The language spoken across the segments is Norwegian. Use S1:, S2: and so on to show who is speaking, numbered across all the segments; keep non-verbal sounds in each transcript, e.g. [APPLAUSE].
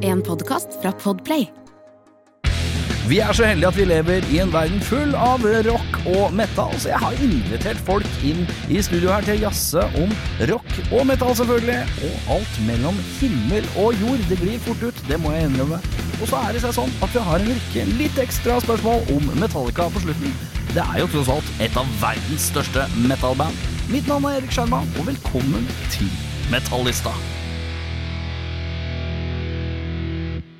S1: En podcast fra Podplay
S2: Vi er så heldige at vi lever i en verden full av rock og metal, så jeg har invitert folk inn i studio her til å jazze om rock og metal, selvfølgelig. Og alt mellom himmel og jord. Det glir fort ut, det må jeg innrømme. Og så er det seg sånn at vi har en rekke litt ekstra spørsmål om Metallica på slutten. Det er jo tross alt et av verdens største metalband. Mitt navn er Erik Skjerma, og velkommen til Metallista.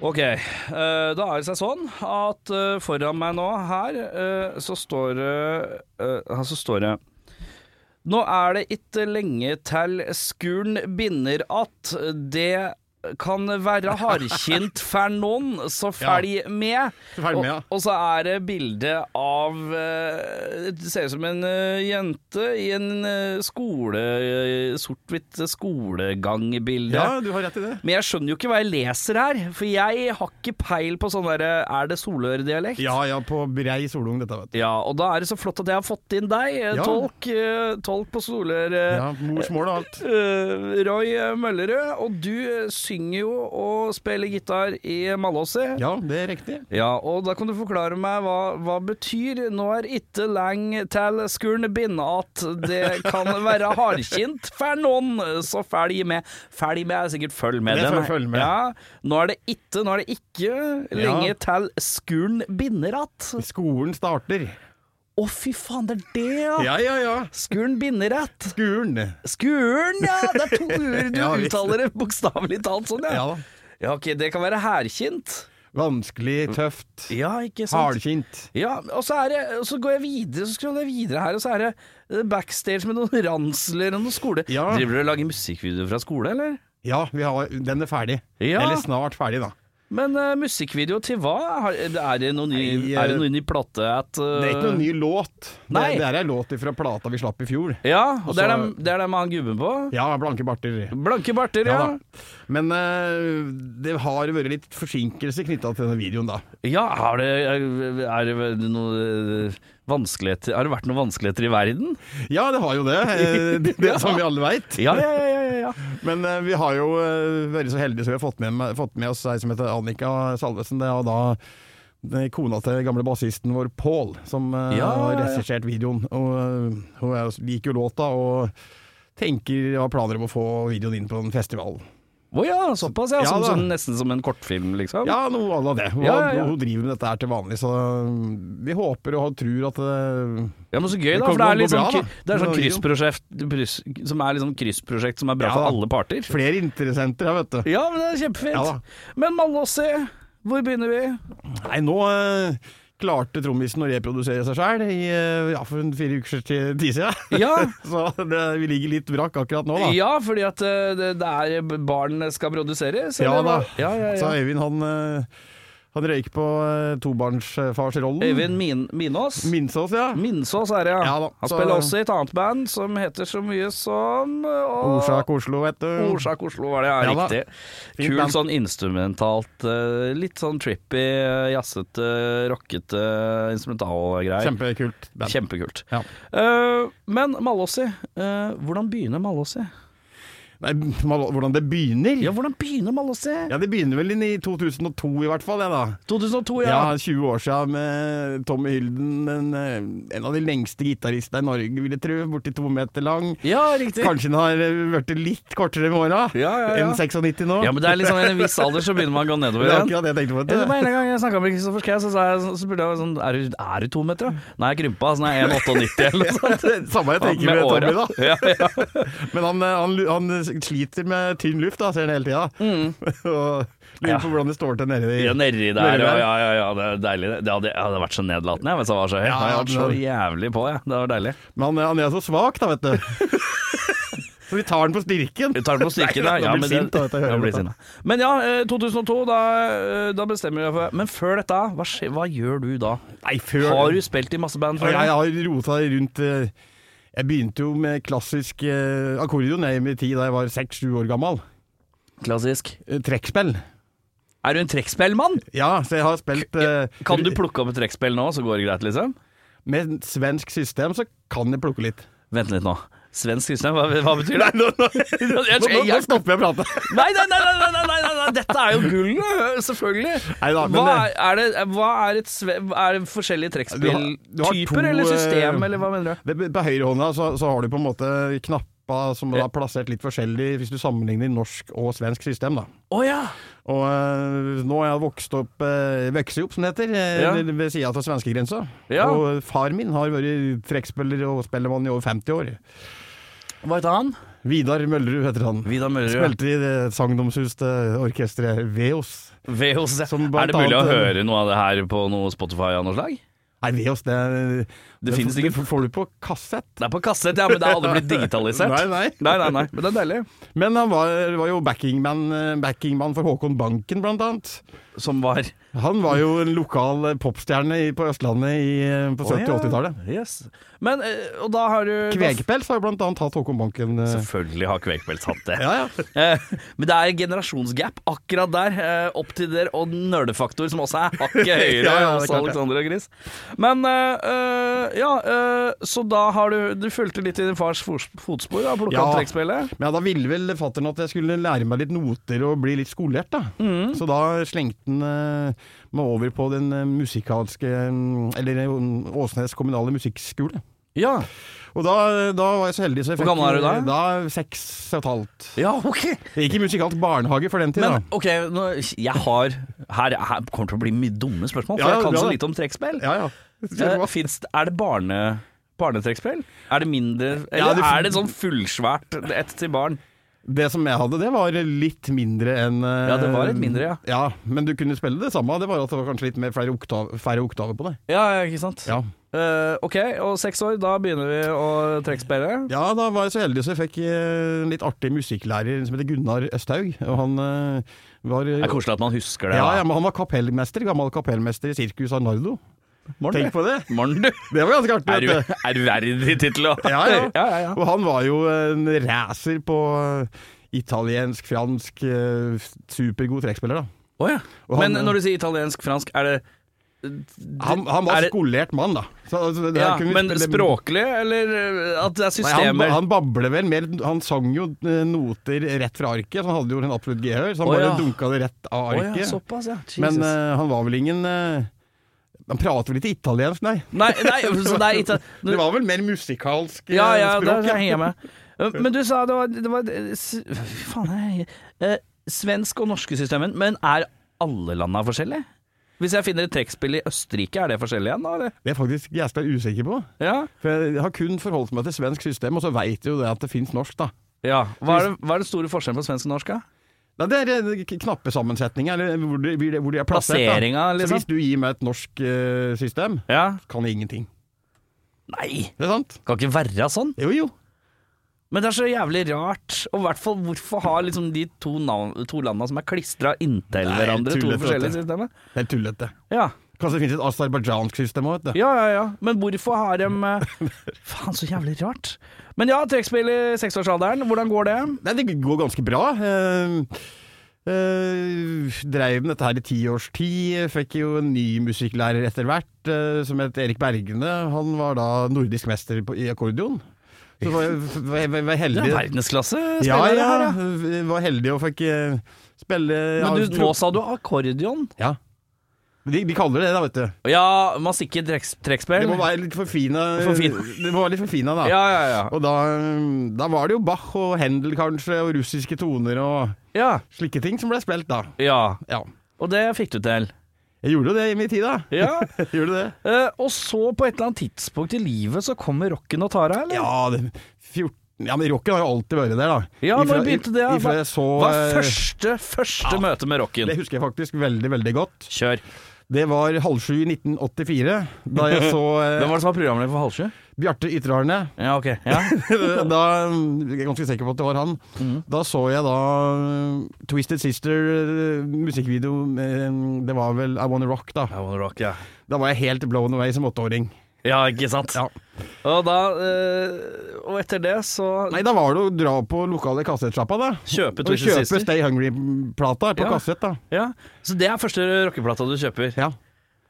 S2: Ok, eh, da er det seg sånn at eh, foran meg nå her, eh, så står det eh, Her så står det Nå er det ikke lenge til skuren binder att. Det kan være
S3: [LAUGHS]
S2: hardkjent for noen, så følg med.
S3: Følg med, ja.
S2: Og, og så er det bilde av eh, Det ser ut som en eh, jente i en eh, skole... eh, Sort-hvitt skolegangbilde.
S3: Ja, du har rett i det.
S2: Men jeg skjønner jo ikke hva jeg leser her, for jeg har ikke peil på sånn derre Er det solørdialekt?
S3: Ja ja, på brei solung, dette, vet du.
S2: Ja, og da er det så flott at jeg har fått inn deg, eh,
S3: Ja.
S2: tolk, eh, tolk på Solør. eh,
S3: Ja, Morsmål og alt.
S2: eh, Roy Møllerød, og du eh, synger jo og spiller gitar i Malåset.
S3: Ja, det er riktig.
S2: Ja, og da kan du forklare meg hva, hva betyr 'nå er itte leng til skuren binde att'. Det kan være hardkjent for noen, så følg med. Følg med er sikkert følg med.
S3: Det er
S2: den.
S3: følg med.
S2: Ja, nå er det itte, nå er det ikke lenge
S3: Ja.
S2: til skuren binder att. Å,
S3: Skolen starter.
S2: fy faen, det er det, ja!
S3: Ja ja ja.
S2: Skuren binder att.
S3: Skolen.
S2: Skuren, ja! Det er to ord du
S3: Ja, visst.
S2: uttaler det bokstavelig talt sånn,
S3: Ja
S2: ja.
S3: da.
S2: Ja, ok, det kan være hærkjent.
S3: Vanskelig, tøft,
S2: Ja, ikke sant?
S3: hardkjent.
S2: Ja, og så, er det, og så går jeg videre, så scroller jeg videre her, og så er det eh, backstage med noen ransler og noen skole.
S3: Ja.
S2: Driver du og lager musikkvideo fra skole, eller?
S3: Ja, vi har, den er ferdig.
S2: Ja.
S3: Eller snart ferdig, da.
S2: Men eh, musikkvideo til hva? Har, er det noen ny,
S3: Nei, eh,
S2: er det noen ny plate? At, eh,
S3: Det er ikke noen ny låt. Det,
S2: Nei.
S3: det er ei låt fra plata vi slapp i fjor.
S2: Ja, og det, er dem,
S3: Altså-
S2: det er dem med han gubben på?
S3: Ja, blanke barter.
S2: Blanke barter, ja.
S3: Ja Men eh, det har vært litt forsinkelse knytta til denne videoen, da.
S2: Ja, har det, er, er det noen vanskeligheter Har det vært noen vanskeligheter i verden?
S3: Ja, det har jo det. eh, [LAUGHS] det, det Som vi alle veit.
S2: Ja, ja, ja. ja, ja, ja.
S3: Men eh, vi har jo eh, vært så heldige så vi har fått med, fått med oss ei som heter Annika Salvesen. Det er da det er kona til gamle bassisten vår Pål, som eh,
S2: Ja,
S3: har
S2: ja.
S3: regissert videoen. Og eh, Hun er, jo- liker jo låta og tenker har planer om å få videoen inn på en festival.
S2: Å ja, såpass, ja.
S3: Ja,
S2: Som,
S3: da.
S2: sånn, nesten som en kortfilm, liksom?
S3: Ja, noe à la det. Hun,
S2: Ja, ja, ja.
S3: hun driver med dette her til vanlig, så mm, vi håper og tror at eh,
S2: Ja, men så gøy,
S3: Det
S2: da. For
S3: kommer
S2: det er
S3: til å
S2: litt sånn,
S3: gå bra,
S2: kry-
S3: da.
S2: det er sånn
S3: Nå er det jo-
S2: kryssprosjekt, prys- som er liksom kryssprosjekt som er bra
S3: Ja,
S2: for
S3: da.
S2: alle parter.
S3: flere interessenter her, vet du.
S2: Ja, men det er kjempefint.
S3: Ja, da.
S2: men Malåsi, hvor begynner vi?
S3: Nei, nå eh, klarte trommisen å reprodusere seg sjøl ja, for en fire uker til tid siden. [LAUGHS]
S2: Ja.
S3: Så det, vi ligger litt vrakk akkurat nå, da.
S2: Ja, fordi at eh, det, det er barn skal produseres?
S3: Ja,
S2: eller
S3: da.
S2: hva? Ja, ja,
S3: Så
S2: ja.
S3: Øyvind han, eh, han røyker på eh, tobarnsfarsrollen.
S2: Øyvind Min Minås?
S3: Minsås, ja.
S2: Minsås er det, ja.
S3: Ja, da.
S2: Han
S3: Så-
S2: spiller også i et annet band som heter så mye som eh, og-
S3: Orsak Oslo, vet du.
S2: Orsak Eh, Oslo var det, ja,
S3: Ja, da.
S2: riktig.
S3: Fint
S2: Kul
S3: band.
S2: sånn instrumentalt, eh, litt sånn trippy, eh, jazzete, rockete eh, instrumentalgreier.
S3: Kjempekult. band.
S2: Kjempekult.
S3: Ja.
S2: Eh, men Malåsi, eh, hvordan begynner Malåsi?
S3: Nei, mal- hvordan det begynner?
S2: Ja, hvordan begynner Malåsi?
S3: Ja, Det begynner vel inn i 2002 i hvert fall, ja, da.
S2: 2002, ja.
S3: Ja, 20 år siden med Tommy Hylden, en, eh, en av de lengste gitaristene i Norge, vil jeg tro. Borti to meter lang.
S2: Ja, riktig.
S3: Kanskje han har eh, vært litt kortere med åra?
S2: Ja, ja, ja.
S3: Enn 96 nå?
S2: Ja, men det er liksom en viss alder, så begynner man å gå nedover igjen.
S3: det er
S2: Eh,
S3: akkurat det jeg tenkte på.
S2: Det
S3: vet du. [LAUGHS]
S2: var en gang jeg snakka med Kristoffer Schou, så, sa jeg sånn- så spurte jeg sånn Er du, er du to meter, da? Nei, jeg krympa, så nå er jeg 1,98
S3: [LAUGHS]
S2: eller noe sånt.
S3: Samme jeg tenker med,
S2: året.
S3: Tommy, da.
S2: Ja, ja.
S3: [LAUGHS] Men han, eh, han, han sliter med tynn luft, da, ser han hele tida. [LAUGHS] og lurer på hvordan det står til nede i
S2: Mm. Ja, nedi der, ja, ja, ja, ja, det er deilig. Det hadde, jeg hadde vært så nedlatende jeg, mens jeg var så høy. jeg
S3: Ja,
S2: hadde vært så
S3: det-
S2: jævlig på, jeg. Det var deilig. [LAUGHS]
S3: Men han, han er så svak, da, vet du. Så vi tar den på stirken.
S2: Vi
S3: [LAUGHS]
S2: tar den på stikken,
S3: Nei,
S2: da. Ja,
S3: nå blir
S2: men,
S3: jeg sint, da, dette
S2: den,
S3: hører
S2: Ja,
S3: jeg
S2: blir
S3: på.
S2: sint, da. men ja, eh, 2002, da, eh, da bestemmer vi oss for Men før dette, hva, skje, hva gjør du da?
S3: Nei, før
S2: Har du spilt i masse band
S3: Og
S2: før?
S3: jeg har rota rundt eh, Jeg begynte jo med klassisk eh, akkordion jeg, med tid da jeg var seks-sju år gammel.
S2: Klassisk.
S3: Eh, Trekkspill.
S2: Er du en trekkspillmann?
S3: Ja, så jeg har spilt eh,
S2: Kan du plukke opp et trekkspill nå, så går det greit, liksom?
S3: Med svensk system så kan jeg plukke litt.
S2: Vent litt nå. Svensk system, hva, hva betyr det? [LAUGHS] Jeg-
S3: Nå, nå, nå
S2: jeg-
S3: stopper jeg å
S2: [LAUGHS]
S3: prate.
S2: Nei, nei, nei, nei, nei, nei, nei, nei, dette er jo gullet, selvfølgelig.
S3: Neida, men
S2: hva, er, er det, hva er et sve... Er det forskjellige
S3: Du har- du har to,
S2: trekkspilltyper eller system,
S3: eh,
S2: eller hva mener du?
S3: Ved- På høyrehånda så, så har du på en måte knappa som er plassert litt forskjellig hvis du sammenligner norsk og svensk system, da.
S2: Å ja!
S3: Og eh, nå har jeg vokst opp uh, Vokst opp, som det heter, eh,
S2: Ja.
S3: eller ved sida av svenskegrensa.
S2: Ja.
S3: Og far min har vært trekkspiller og spellemann i over 50 år.
S2: Hva heter han?
S3: Vidar Møllerud heter han.
S2: Vidar Møllerud.
S3: Spilte i det sagnomsuste Veos.
S2: VOC.
S3: Som blant
S2: Er det mulig å
S3: annet-
S2: høre noe av det her på noe Spotify av noe slag?
S3: Nei, Veos, det Det,
S2: finnes
S3: det
S2: ikke.
S3: får du på kassett.
S2: Det er på kassett, ja, men det har aldri blitt digitalisert.
S3: Nei, nei.
S2: nei, nei, nei. Men det er deilig.
S3: Men han var, var jo backingman, eh, backingman for Håkon Banken, blant annet.
S2: Som var
S3: Han var jo en lokal eh, popstjerne i- på Østlandet i, eh, på 70- og 80-tallet.
S2: Yes. Men, eh, og da har du
S3: Kvegpels har jo blant annet hatt Håkon Banken. eh.
S2: Selvfølgelig har Kvegpels hatt [LAUGHS] det.
S3: Ja, ja.
S2: Eh, Men det er generasjonsgap akkurat der, eh, opp til der, og nerdefaktor som også er hakket høyere
S3: [LAUGHS] Ja, ja, det er
S2: hos
S3: klart det.
S2: Alexander og Chris. Men eh, eh, ja, eh, så da har du Du fulgte litt i din fars fors- fotspor og plukka
S3: Ja.
S2: opp trekkspillet?
S3: Men ja, da ville vel fatter'n at jeg skulle lære meg litt noter og bli litt skolert, da.
S2: Mm.
S3: Så da slengte han eh, meg over på den eh, musikalske mm, Eller eh, Åsnes kommunale musikkskole.
S2: Ja.
S3: Og da, da var jeg så heldig så jeg
S2: Hvor gammel er du da?
S3: Da Seks og et halvt.
S2: ja, ok.
S3: Jeg gikk i musikalsk barnehage for den tid,
S2: Men
S3: da.
S2: ok, nå, jeg har her, her kommer til å bli mye dumme spørsmål, for
S3: Ja, ja,
S2: jeg kan
S3: bra
S2: så
S3: det.
S2: lite om trekkspill.
S3: Ja,
S2: [LAUGHS]
S3: ja.
S2: Eh, finnes det- er det barne, barnetrekkspill? Er det mindre Eller
S3: Ja, det fin-
S2: er det sånn fullsvært ett til barn?
S3: Det som jeg hadde, det var litt mindre enn eh,
S2: Ja, det var litt mindre, ja.
S3: Ja, Men du kunne spille det samme, det var at det var kanskje litt mer flere oktav, færre oktaver på det.
S2: Ja, ikke sant?
S3: Ja.
S2: Eh, ok, og seks år, da begynner vi å trekkspille.
S3: Ja, da var jeg så heldig så jeg fikk eh, en litt artig musikklærer som heter Gunnar Østhaug. Og han eh, var
S2: Det er koselig at man husker det.
S3: ja, ja, men han var kapellmester, gammel kapellmester i Circus Arnardo. Tenk på det!
S2: Morn, du.
S3: Det var ganske artig.
S2: Er du
S3: vet du.
S2: ærverdig tittel òg.
S3: Ja, ja.
S2: [LAUGHS] ja, ja, ja.
S3: Og han var jo en racer på eh, italiensk, fransk, eh, supergod trekkspiller, da.
S2: Å, ja.
S3: Og han-
S2: Men når du sier italiensk, fransk, er det
S3: Han, han var
S2: Er det-
S3: skolert mann, da. Så, altså, det
S2: ja,
S3: kunne vi
S2: Men
S3: spille-
S2: språklig, eller eh, at det er
S3: Nei, han,
S2: systemer?
S3: han babler vel mer Han sang jo eh, noter rett fra arket, så han hadde jo en absolutt gehør, så han
S2: Å,
S3: bare
S2: ja.
S3: dunka det rett av
S2: Å,
S3: arket.
S2: ja, såpass, ja. Jesus.
S3: Men eh, han var vel ingen eh, Han prater vel ikke italiensk, nei.
S2: nei, nei, så
S3: [LAUGHS]
S2: det er ita...
S3: Det var vel mer musikalsk eh,
S2: Ja, ja, der
S3: språk. ja.
S2: henger jeg med. Eh, Men du sa det var, det var eh, s- Fy faen, jeg eh, Svensk og norske systemen, men er alle landa forskjellige? Hvis jeg finner et trekkspill i Østerrike, er det forskjellig igjen da, eller?
S3: Det er faktisk jævla usikker på.
S2: Ja.
S3: For jeg har kun forholdt meg til svensk system, og så veit jeg jo det at det fins norsk, da.
S2: Ja, hva er, det, hva er den store forskjellen på svensk og norsk? da?
S3: Nei, det er eh, k- knappesammensetninger, eller hvor de, hvor de- hvor de er plassert. da.
S2: Plasseringa, liksom.
S3: Så hvis du gir meg et norsk eh, system,
S2: Ja.
S3: kan jeg ingenting.
S2: Nei,
S3: Det er sant?
S2: kan ikke være sånn.
S3: Jo, jo.
S2: Men det er så jævlig rart. Og i hvert fall hvorfor har liksom de to, navn, to landa som er klistra inntil
S3: Nei,
S2: hverandre, to
S3: tullete,
S2: forskjellige
S3: vet
S2: systemer?
S3: Det er tullete.
S2: Ja.
S3: Kanskje det finnes et aserbajdsjansk system òg, vet du.
S2: ja, ja, ja. Men hvorfor har de [LAUGHS] eh, Faen, så jævlig rart. Men ja, trekkspill i seksårsalderen. Hvordan går det?
S3: Nei, det går ganske bra. Eh, eh, dreiv med dette her i ti års tid. Fikk jo en ny musikklærer etter hvert, eh, som het Erik Bergene. Han var da nordisk mester på, i akkordeon. Så var jeg, var jeg, var jeg
S2: Du
S3: heldig.
S2: er verdensklasse
S3: Ja,
S2: spiller
S3: ja,
S2: her, ja.
S3: Var heldig og fikk eh, spille
S2: Men
S3: ja,
S2: du,
S3: tro-
S2: nå sa du akkordion.
S3: Ja. Men De, de kaller det det, da, vet du.
S2: Ja, man sikker trekks-
S3: Det
S2: trekkspill.
S3: må være litt forfina.
S2: Forfina.
S3: Det må være litt forfina, da.
S2: Ja, ja, ja.
S3: Og da, eh, da var det jo Bach og Händel, kanskje, og russiske toner og
S2: Ja,
S3: slike ting som ble spilt, da.
S2: ja.
S3: Ja.
S2: Og det fikk du til.
S3: Jeg gjorde jo det i min tid, da. [LAUGHS]
S2: Ja.
S3: Gjorde du det?
S2: Eh, og så på et eller annet tidspunkt i livet så kommer rocken og tar deg, eller?
S3: Ja, det, 14, ja, men rocken har jo alltid vært der, da.
S2: Ja, når
S3: Ifra-
S2: begynte det?
S3: Ifra jeg så
S2: Hva
S3: eh,
S2: er første, første møte med rocken?
S3: Det husker jeg faktisk veldig, veldig godt.
S2: Kjør.
S3: Det var halv sju i 1984, da jeg så eh,
S2: [LAUGHS] Hvem var det som var programleder for Halvsjø?
S3: Bjarte Ytterarne.
S2: [LAUGHS] Ja, ok. Ja.
S3: da, jeg er ganske sikker på at det var han.
S2: Mm.
S3: Da så jeg da eh, Twisted Sister eh, musikkvideo med- Det var vel I Wanna Rock, da.
S2: I wanna rock, ja.
S3: Da var jeg helt blown away som åtteåring.
S2: Ja, ikke sant? Og da eh, Og etter det så
S3: Nei, da var det å dra på lokale kassettsjappa, da.
S2: Kjøpe
S3: Og
S2: Twisted
S3: kjøpe
S2: Sister.
S3: Stay Hungry-plata på
S2: Ja.
S3: kassett, da.
S2: Ja. Så det er første rockeplata du kjøper?
S3: Ja.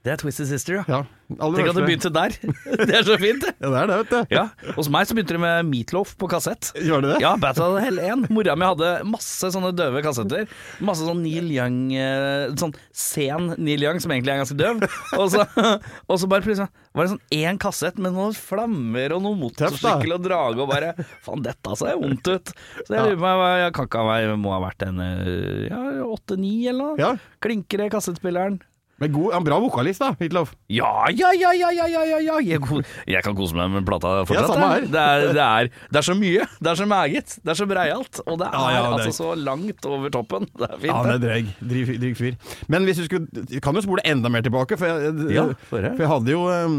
S2: Det er Twisted Sister, ja.
S3: ja. Aller
S2: Tenk at det
S3: første.
S2: begynte der. [LAUGHS] Det er så fint, det.
S3: Ja, det er det, vet du.
S2: Ja. Hos meg så begynte det med Meatloaf på kassett.
S3: Gjør det det?
S2: Ja, Battle of the Hell 1. Mora mi hadde masse sånne døve kassetter. Masse sånn Neil Young eh, Sånn sen Neil Young, som egentlig er ganske døv. Og så, og så bare plutselig var det sånn én kassett med noen flammer og noen
S3: Tøft, da.
S2: motorsykkel og drage, og bare Faen, dette ser vondt ut. Så jeg lurer på meg, jeg kan ikke ha meg Må ha vært en eh, ja, åtte-ni eller noe.
S3: Ja.
S2: Klinker i kassettspilleren.
S3: Men god, en bra vokalist, da, Hitlof.
S2: Ja, ja, ja, ja, ja, ja, ja, ja. Jeg, ko- jeg kan kose meg med plata fortsatt.
S3: samme
S2: jeg.
S3: her.
S2: Det, er, det, er, det er så mye, det er så meget, det er så breialt. Og det er
S3: Ja, ja, det er-
S2: altså så langt over toppen. [LAUGHS] Det er
S3: Ja,
S2: fint.
S3: han er
S2: det.
S3: drøy. Dryg, dryg fyr. Men hvis du skulle Kan jo spole enda mer tilbake, for jeg, eh,
S2: Ja, få
S3: for
S2: høre. Mm.
S3: jeg hadde jo um,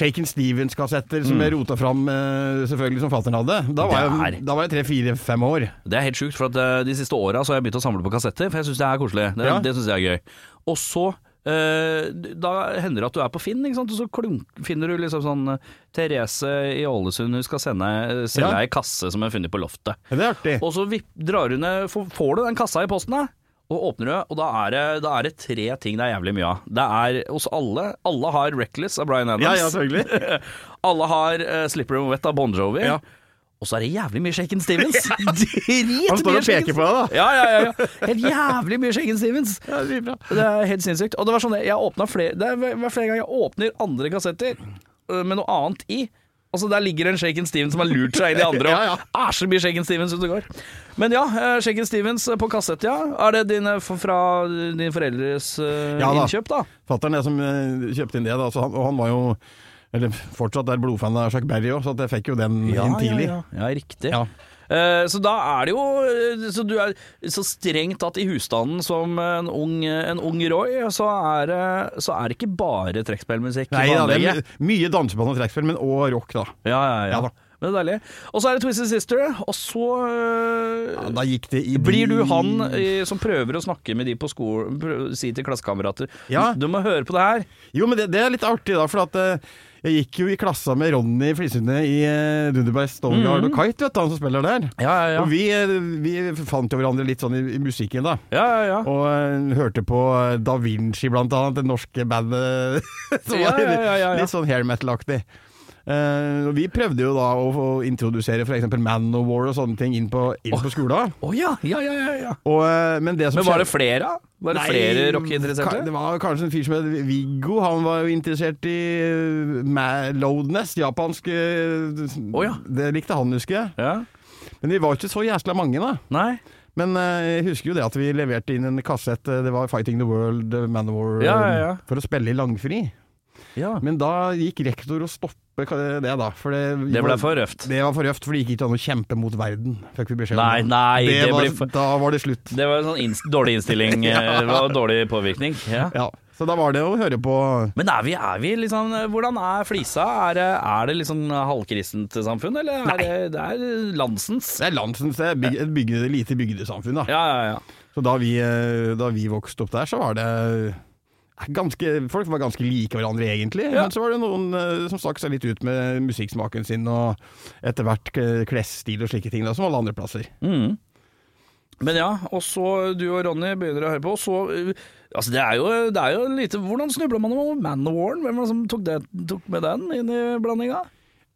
S3: Shaken Stevens-kassetter som jeg rota fram, eh, selvfølgelig, som fatter'n hadde. Da var
S2: Det
S3: jeg,
S2: er-
S3: da var jeg tre-fire-fem år.
S2: det er helt sjukt, for at eh, de siste åra har jeg begynt å samle på kassetter, for jeg syns det er koselig. Det,
S3: Ja.
S2: det syns jeg er gøy. Og så eh, da hender det at du er på Finn, ikke sant? og så klunk, finner du liksom sånn eh, Therese i Ålesund, hun skal sende, selge
S3: Ja.
S2: ei kasse som hun har funnet på loftet.
S3: Det er artig.
S2: Og så vipp, drar hun ned, får, får du den kassa i posten da, og åpner du, og da er, det, da er det tre ting det er jævlig mye av. Det er hos alle, alle har Reckless av Bryan
S3: Ja,
S2: Adams.
S3: ja, selvfølgelig.
S2: [LAUGHS] alle har uh, Slippery Wet av Bon Jovi.
S3: Ja.
S2: Og så er det jævlig mye Shaken Stevens.
S3: [LAUGHS]
S2: Dritmye
S3: Han står og
S2: Shaken
S3: peker på deg, da.
S2: Ja, ja, ja, ja. Helt jævlig mye Shaken Stevens.
S3: Ja, det blir bra.
S2: Det er helt sinnssykt. Og det var sånn jeg åpnet flere, Det er hver flere ganger jeg åpner andre kassetter øh, med noe annet i. Altså Der ligger en Shaken Stevens som har lurt seg inn i
S3: [LAUGHS]
S2: andre. Og
S3: Ja, ja.
S2: Er så mye Shaken Stevens ute og går. Men ja, eh, Shaken Stevens på kassett, ja. Er det din, eh, f- fra dine foreldres eh,
S3: Ja, da.
S2: innkjøp, da?
S3: Fatter'n er som eh, kjøpte inn det, da, så han, og han var jo eller fortsatt er blodfan av Chuck Berry òg, så at jeg fikk jo den inn tidlig.
S2: ja, ja. ja riktig.
S3: Ja.
S2: Eh, Så da er det jo eh, Så du er så strengt tatt i husstanden som en ung, eh, en ung Roy, så er, det- så er det ikke bare trekkspillmusikk. i
S3: Nei da, det
S2: anlegget.
S3: er my- mye danseband og trekkspill, men òg rock, da.
S2: Ja, ja, ja.
S3: Ja da.
S2: Men det er deilig. Og så er det Twisted Sister, og så øh,
S3: Ja, da gikk det i
S2: blir du han eh, som prøver å snakke med de på skolen, prø- si til klassekamerater
S3: Ja.
S2: Du må høre på det her.
S3: Jo, men det, det er litt artig, da. For at eh, jeg gikk jo i klassa med Ronny Flisundet i uh, Dunderberg Stonegard og Kite, vet du, han som spiller der.
S2: Mhm. Ja, ja, ja.
S3: Og vi, eh, vi fant jo hverandre litt sånn i, i musikken, da.
S2: Ja, ja, ja.
S3: Og eh, hørte på eh, Da Vinci, blant annet, det norske bandet [LAUGHS] som
S2: Ja,
S3: var
S2: ja, ja, ja, ja.
S3: litt sånn hair metal-aktig. Eh, og vi prøvde jo da å, å introdusere f.eks. Manowar og sånne ting inn på, inn på skolen.
S2: Å ja, ja, ja, ja, ja.
S3: Og, eh, men det som
S2: Men var
S3: skjedde-
S2: det flere? da? Var det
S3: Nei,
S2: flere
S3: ka- Det
S2: rockeinteresserte?
S3: var kanskje en fyr som het Viggo. Han var jo interessert i eh, Ma- Loudness, japansk eh,
S2: Å ja.
S3: Det likte han, husker jeg.
S2: Ja.
S3: Men vi var jo ikke så jæsla mange, da.
S2: Nei?
S3: Men eh, jeg husker jo det at vi leverte inn en kassett. eh, Det var 'Fighting the World', eh, Manowar,
S2: Ja, ja,
S3: eh,
S2: ja.
S3: for å spille i langfri.
S2: Ja.
S3: Men da gikk rektor og stoppet ka- det, da. For det,
S2: Det ble for røft.
S3: Det var for røft, for det gikk ikke an å kjempe mot verden, fikk vi beskjed om.
S2: Nei, nei, det
S3: var,
S2: blir for-
S3: Da var det slutt.
S2: Det var en sånn inns dårlig [LAUGHS] innstilling, eh, det var dårlig påvirkning. Ja.
S3: Ja, Så da var det å høre på
S2: Men er vi, er vi liksom Hvordan er flisa? Er, det- er det liksom halvkristent samfunn, eller er det, det er landsens?
S3: Det er landsens det er byg- et bygde, lite bygdesamfunn, da.
S2: Ja, ja, ja.
S3: Så da vi, eh, da vi vokste opp der, så var det eh, ganske, Folk var ganske like hverandre, egentlig. Men så var det noen eh, som stakk seg litt ut med musikksmaken sin, og etter hvert k- klesstil og slike ting, da, som alle andre plasser.
S2: Mm. Men ja, og så du og Ronny begynner å høre på, og så uh, Altså, det er jo, det er jo lite Hvordan snubla man over Man of Warren? Hvem var det som tok, det, tok med den inn i blandinga?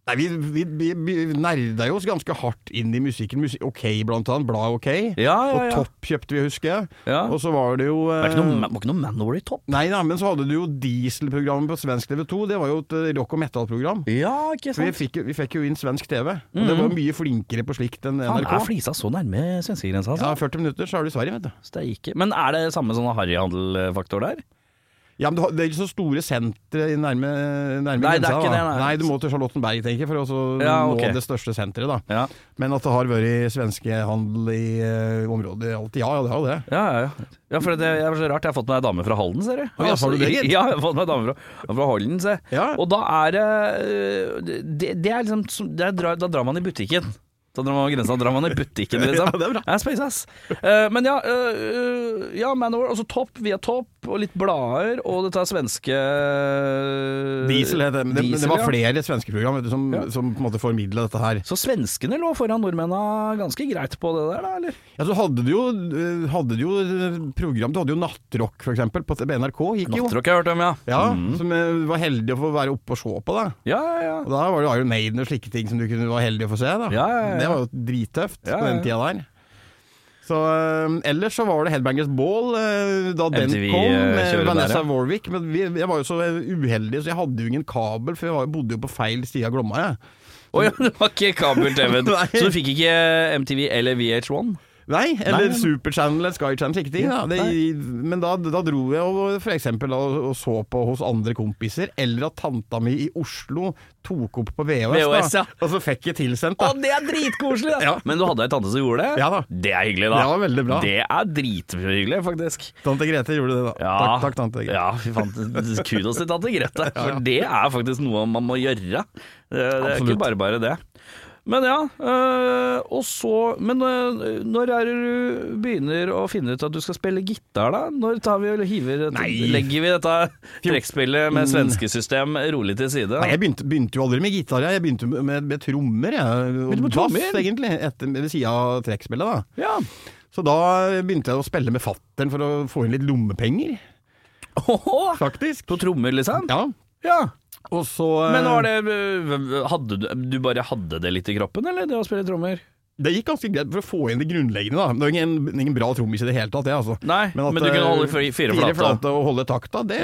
S3: Nei, vi, vi, vi, vi nerda jo oss ganske hardt inn i musikken. Musikk, OK, blant annet. Bladet OK.
S2: Ja, ja,
S3: Og
S2: ja.
S3: Topp kjøpte vi, husker jeg.
S2: Ja.
S3: Og så var det jo
S2: Det er ikke noe,
S3: eh,
S2: det var ikke noe Man of Warren i topp?
S3: Nei da, men så hadde du jo Dieselprogrammet på svensk TV 2. Det var jo et eh, rock- og metal-program.
S2: Ja, ikke
S3: For vi fikk, jo- vi fikk jo inn svensk TV, og det var mye flinkere på slikt enn
S2: Faen, Mhm. er
S3: NRK.
S2: flisa så nærme svenskegrensa,
S3: Ja,
S2: altså?
S3: 40 minutter, så er du i Sverige, vet du.
S2: Steike. Men er det samme sånn harryhandelfaktor der?
S3: Ja, men du har, Det er ikke så store sentre i nærme, nærme
S2: Nei, det er
S3: grensa,
S2: ikke
S3: da.
S2: det, nei.
S3: du må til Charlottenberg, tenker jeg, for å så
S2: Ja, ok.
S3: nå det største senteret. da.
S2: Ja.
S3: Men at det har vært svenskehandel i eh, området alltid, ja, ja, det har jo det.
S2: Ja, ja, ja. ja for det det er så rart. Jeg har fått meg ei dame fra Halden, ser du. Altså,
S3: Ja, har du det, gitt?
S2: [LAUGHS] Ja, jeg har fått meg ei dame fra, fra Halden, se.
S3: Ja.
S2: Og da er det det, det er liksom som- det er, dra- Da drar man i butikken. Da drar man over grensa, da drar man i butikken, liksom.
S3: [LAUGHS] Ja, det er bra.
S2: space ass. Eh, men ja, eh, ja Manor, altså topp via topp, og litt blader, og dette er svenske
S3: Diesel het det. Men det, men
S2: Eh, Diesel,
S3: det var
S2: ja.
S3: flere svenske program vet du, som,
S2: Ja.
S3: som på en måte formidla dette her.
S2: Så svenskene lå foran nordmennene ganske greit på det der, da, eller?
S3: Ja, så hadde du jo, eh, hadde du jo eh, program Du hadde jo Nattrock, for eksempel, på NRK. gikk jo.
S2: Nattrock har jeg hørt om, ja.
S3: Ja,
S2: Mhm.
S3: Som eh, var heldig å få være oppe og se på. da
S2: Ja, ja, ja.
S3: Og Da var det Iron Maiden og slike ting som du kunne være heldig å få se. da
S2: Ja, ja, ja.
S3: Det var jo drittøft
S2: Ja,
S3: på den
S2: ja.
S3: tida der. Så eh, Ellers så var det Headbangers Ball eh, da den
S2: MTV
S3: kom, med
S2: kjører der,
S3: Vanessa
S2: ja.
S3: Warwick. Men vi, jeg var jo så uheldig, så jeg hadde jo ingen kabel, for jeg var, bodde jo på feil side av Glomma. Jeg.
S2: Å ja, det var ikke kabel-TV-en.
S3: [LAUGHS] Nei.
S2: Så du fikk ikke eh, MTV eller VH1?
S3: Nei, eller
S2: Nei.
S3: Superchannel eller Sky Channel, slike ting.
S2: Ja,
S3: da. det, men da, da dro jeg og for eksempel da, og så på hos andre kompiser, eller at tanta mi i Oslo tok opp på VHS,
S2: VHS,
S3: da,
S2: ja.
S3: og så fikk jeg tilsendt.
S2: Å,
S3: da
S2: det er dritkoselig! da.
S3: Ja.
S2: Men du hadde ei tante som gjorde det?
S3: altså. Ja da.
S2: Det er hyggelig, da.
S3: Det var veldig bra.
S2: Det er drithyggelig, faktisk.
S3: Tante Grete gjorde det, da. Takk, takk, tante Grete.
S2: Ja, fy faen. Kudos til tante
S3: [LAUGHS]
S2: Grete. For det er faktisk noe man må gjøre. Det, det er
S3: Absolutt.
S2: ikke bare bare det. Men ja, øh, og så Men øh, når er det du begynner å finne ut at du skal spille gitar, da? Når tar vi og hiver et,
S3: Nei. Mm.
S2: Legger vi dette trekkspillet med svenskesystem rolig til side?
S3: Nei, jeg begynte, begynte jo aldri med gitar, jeg. Jeg begynte med, med, med trommer, jeg. Og
S2: Begynte med trommer?
S3: Bass, egentlig, etter, ved sida av trekkspillet, da.
S2: Ja.
S3: Så da begynte jeg å spille med fattern for å få inn litt lommepenger,
S2: Åhå!
S3: faktisk.
S2: På trommer, liksom?
S3: Ja.
S2: Ja.
S3: Og så
S2: Men var det øh, hadde du, du bare hadde det litt i kroppen, eller det å spille trommer?
S3: Det gikk ganske greit for å få inn det grunnleggende, da. Det er jo ingen, ingen bra trommis i det hele tatt, det, altså.
S2: Nei, men,
S3: at,
S2: du kunne
S3: eh,
S2: holde fri- fire flate.
S3: og holde takta, det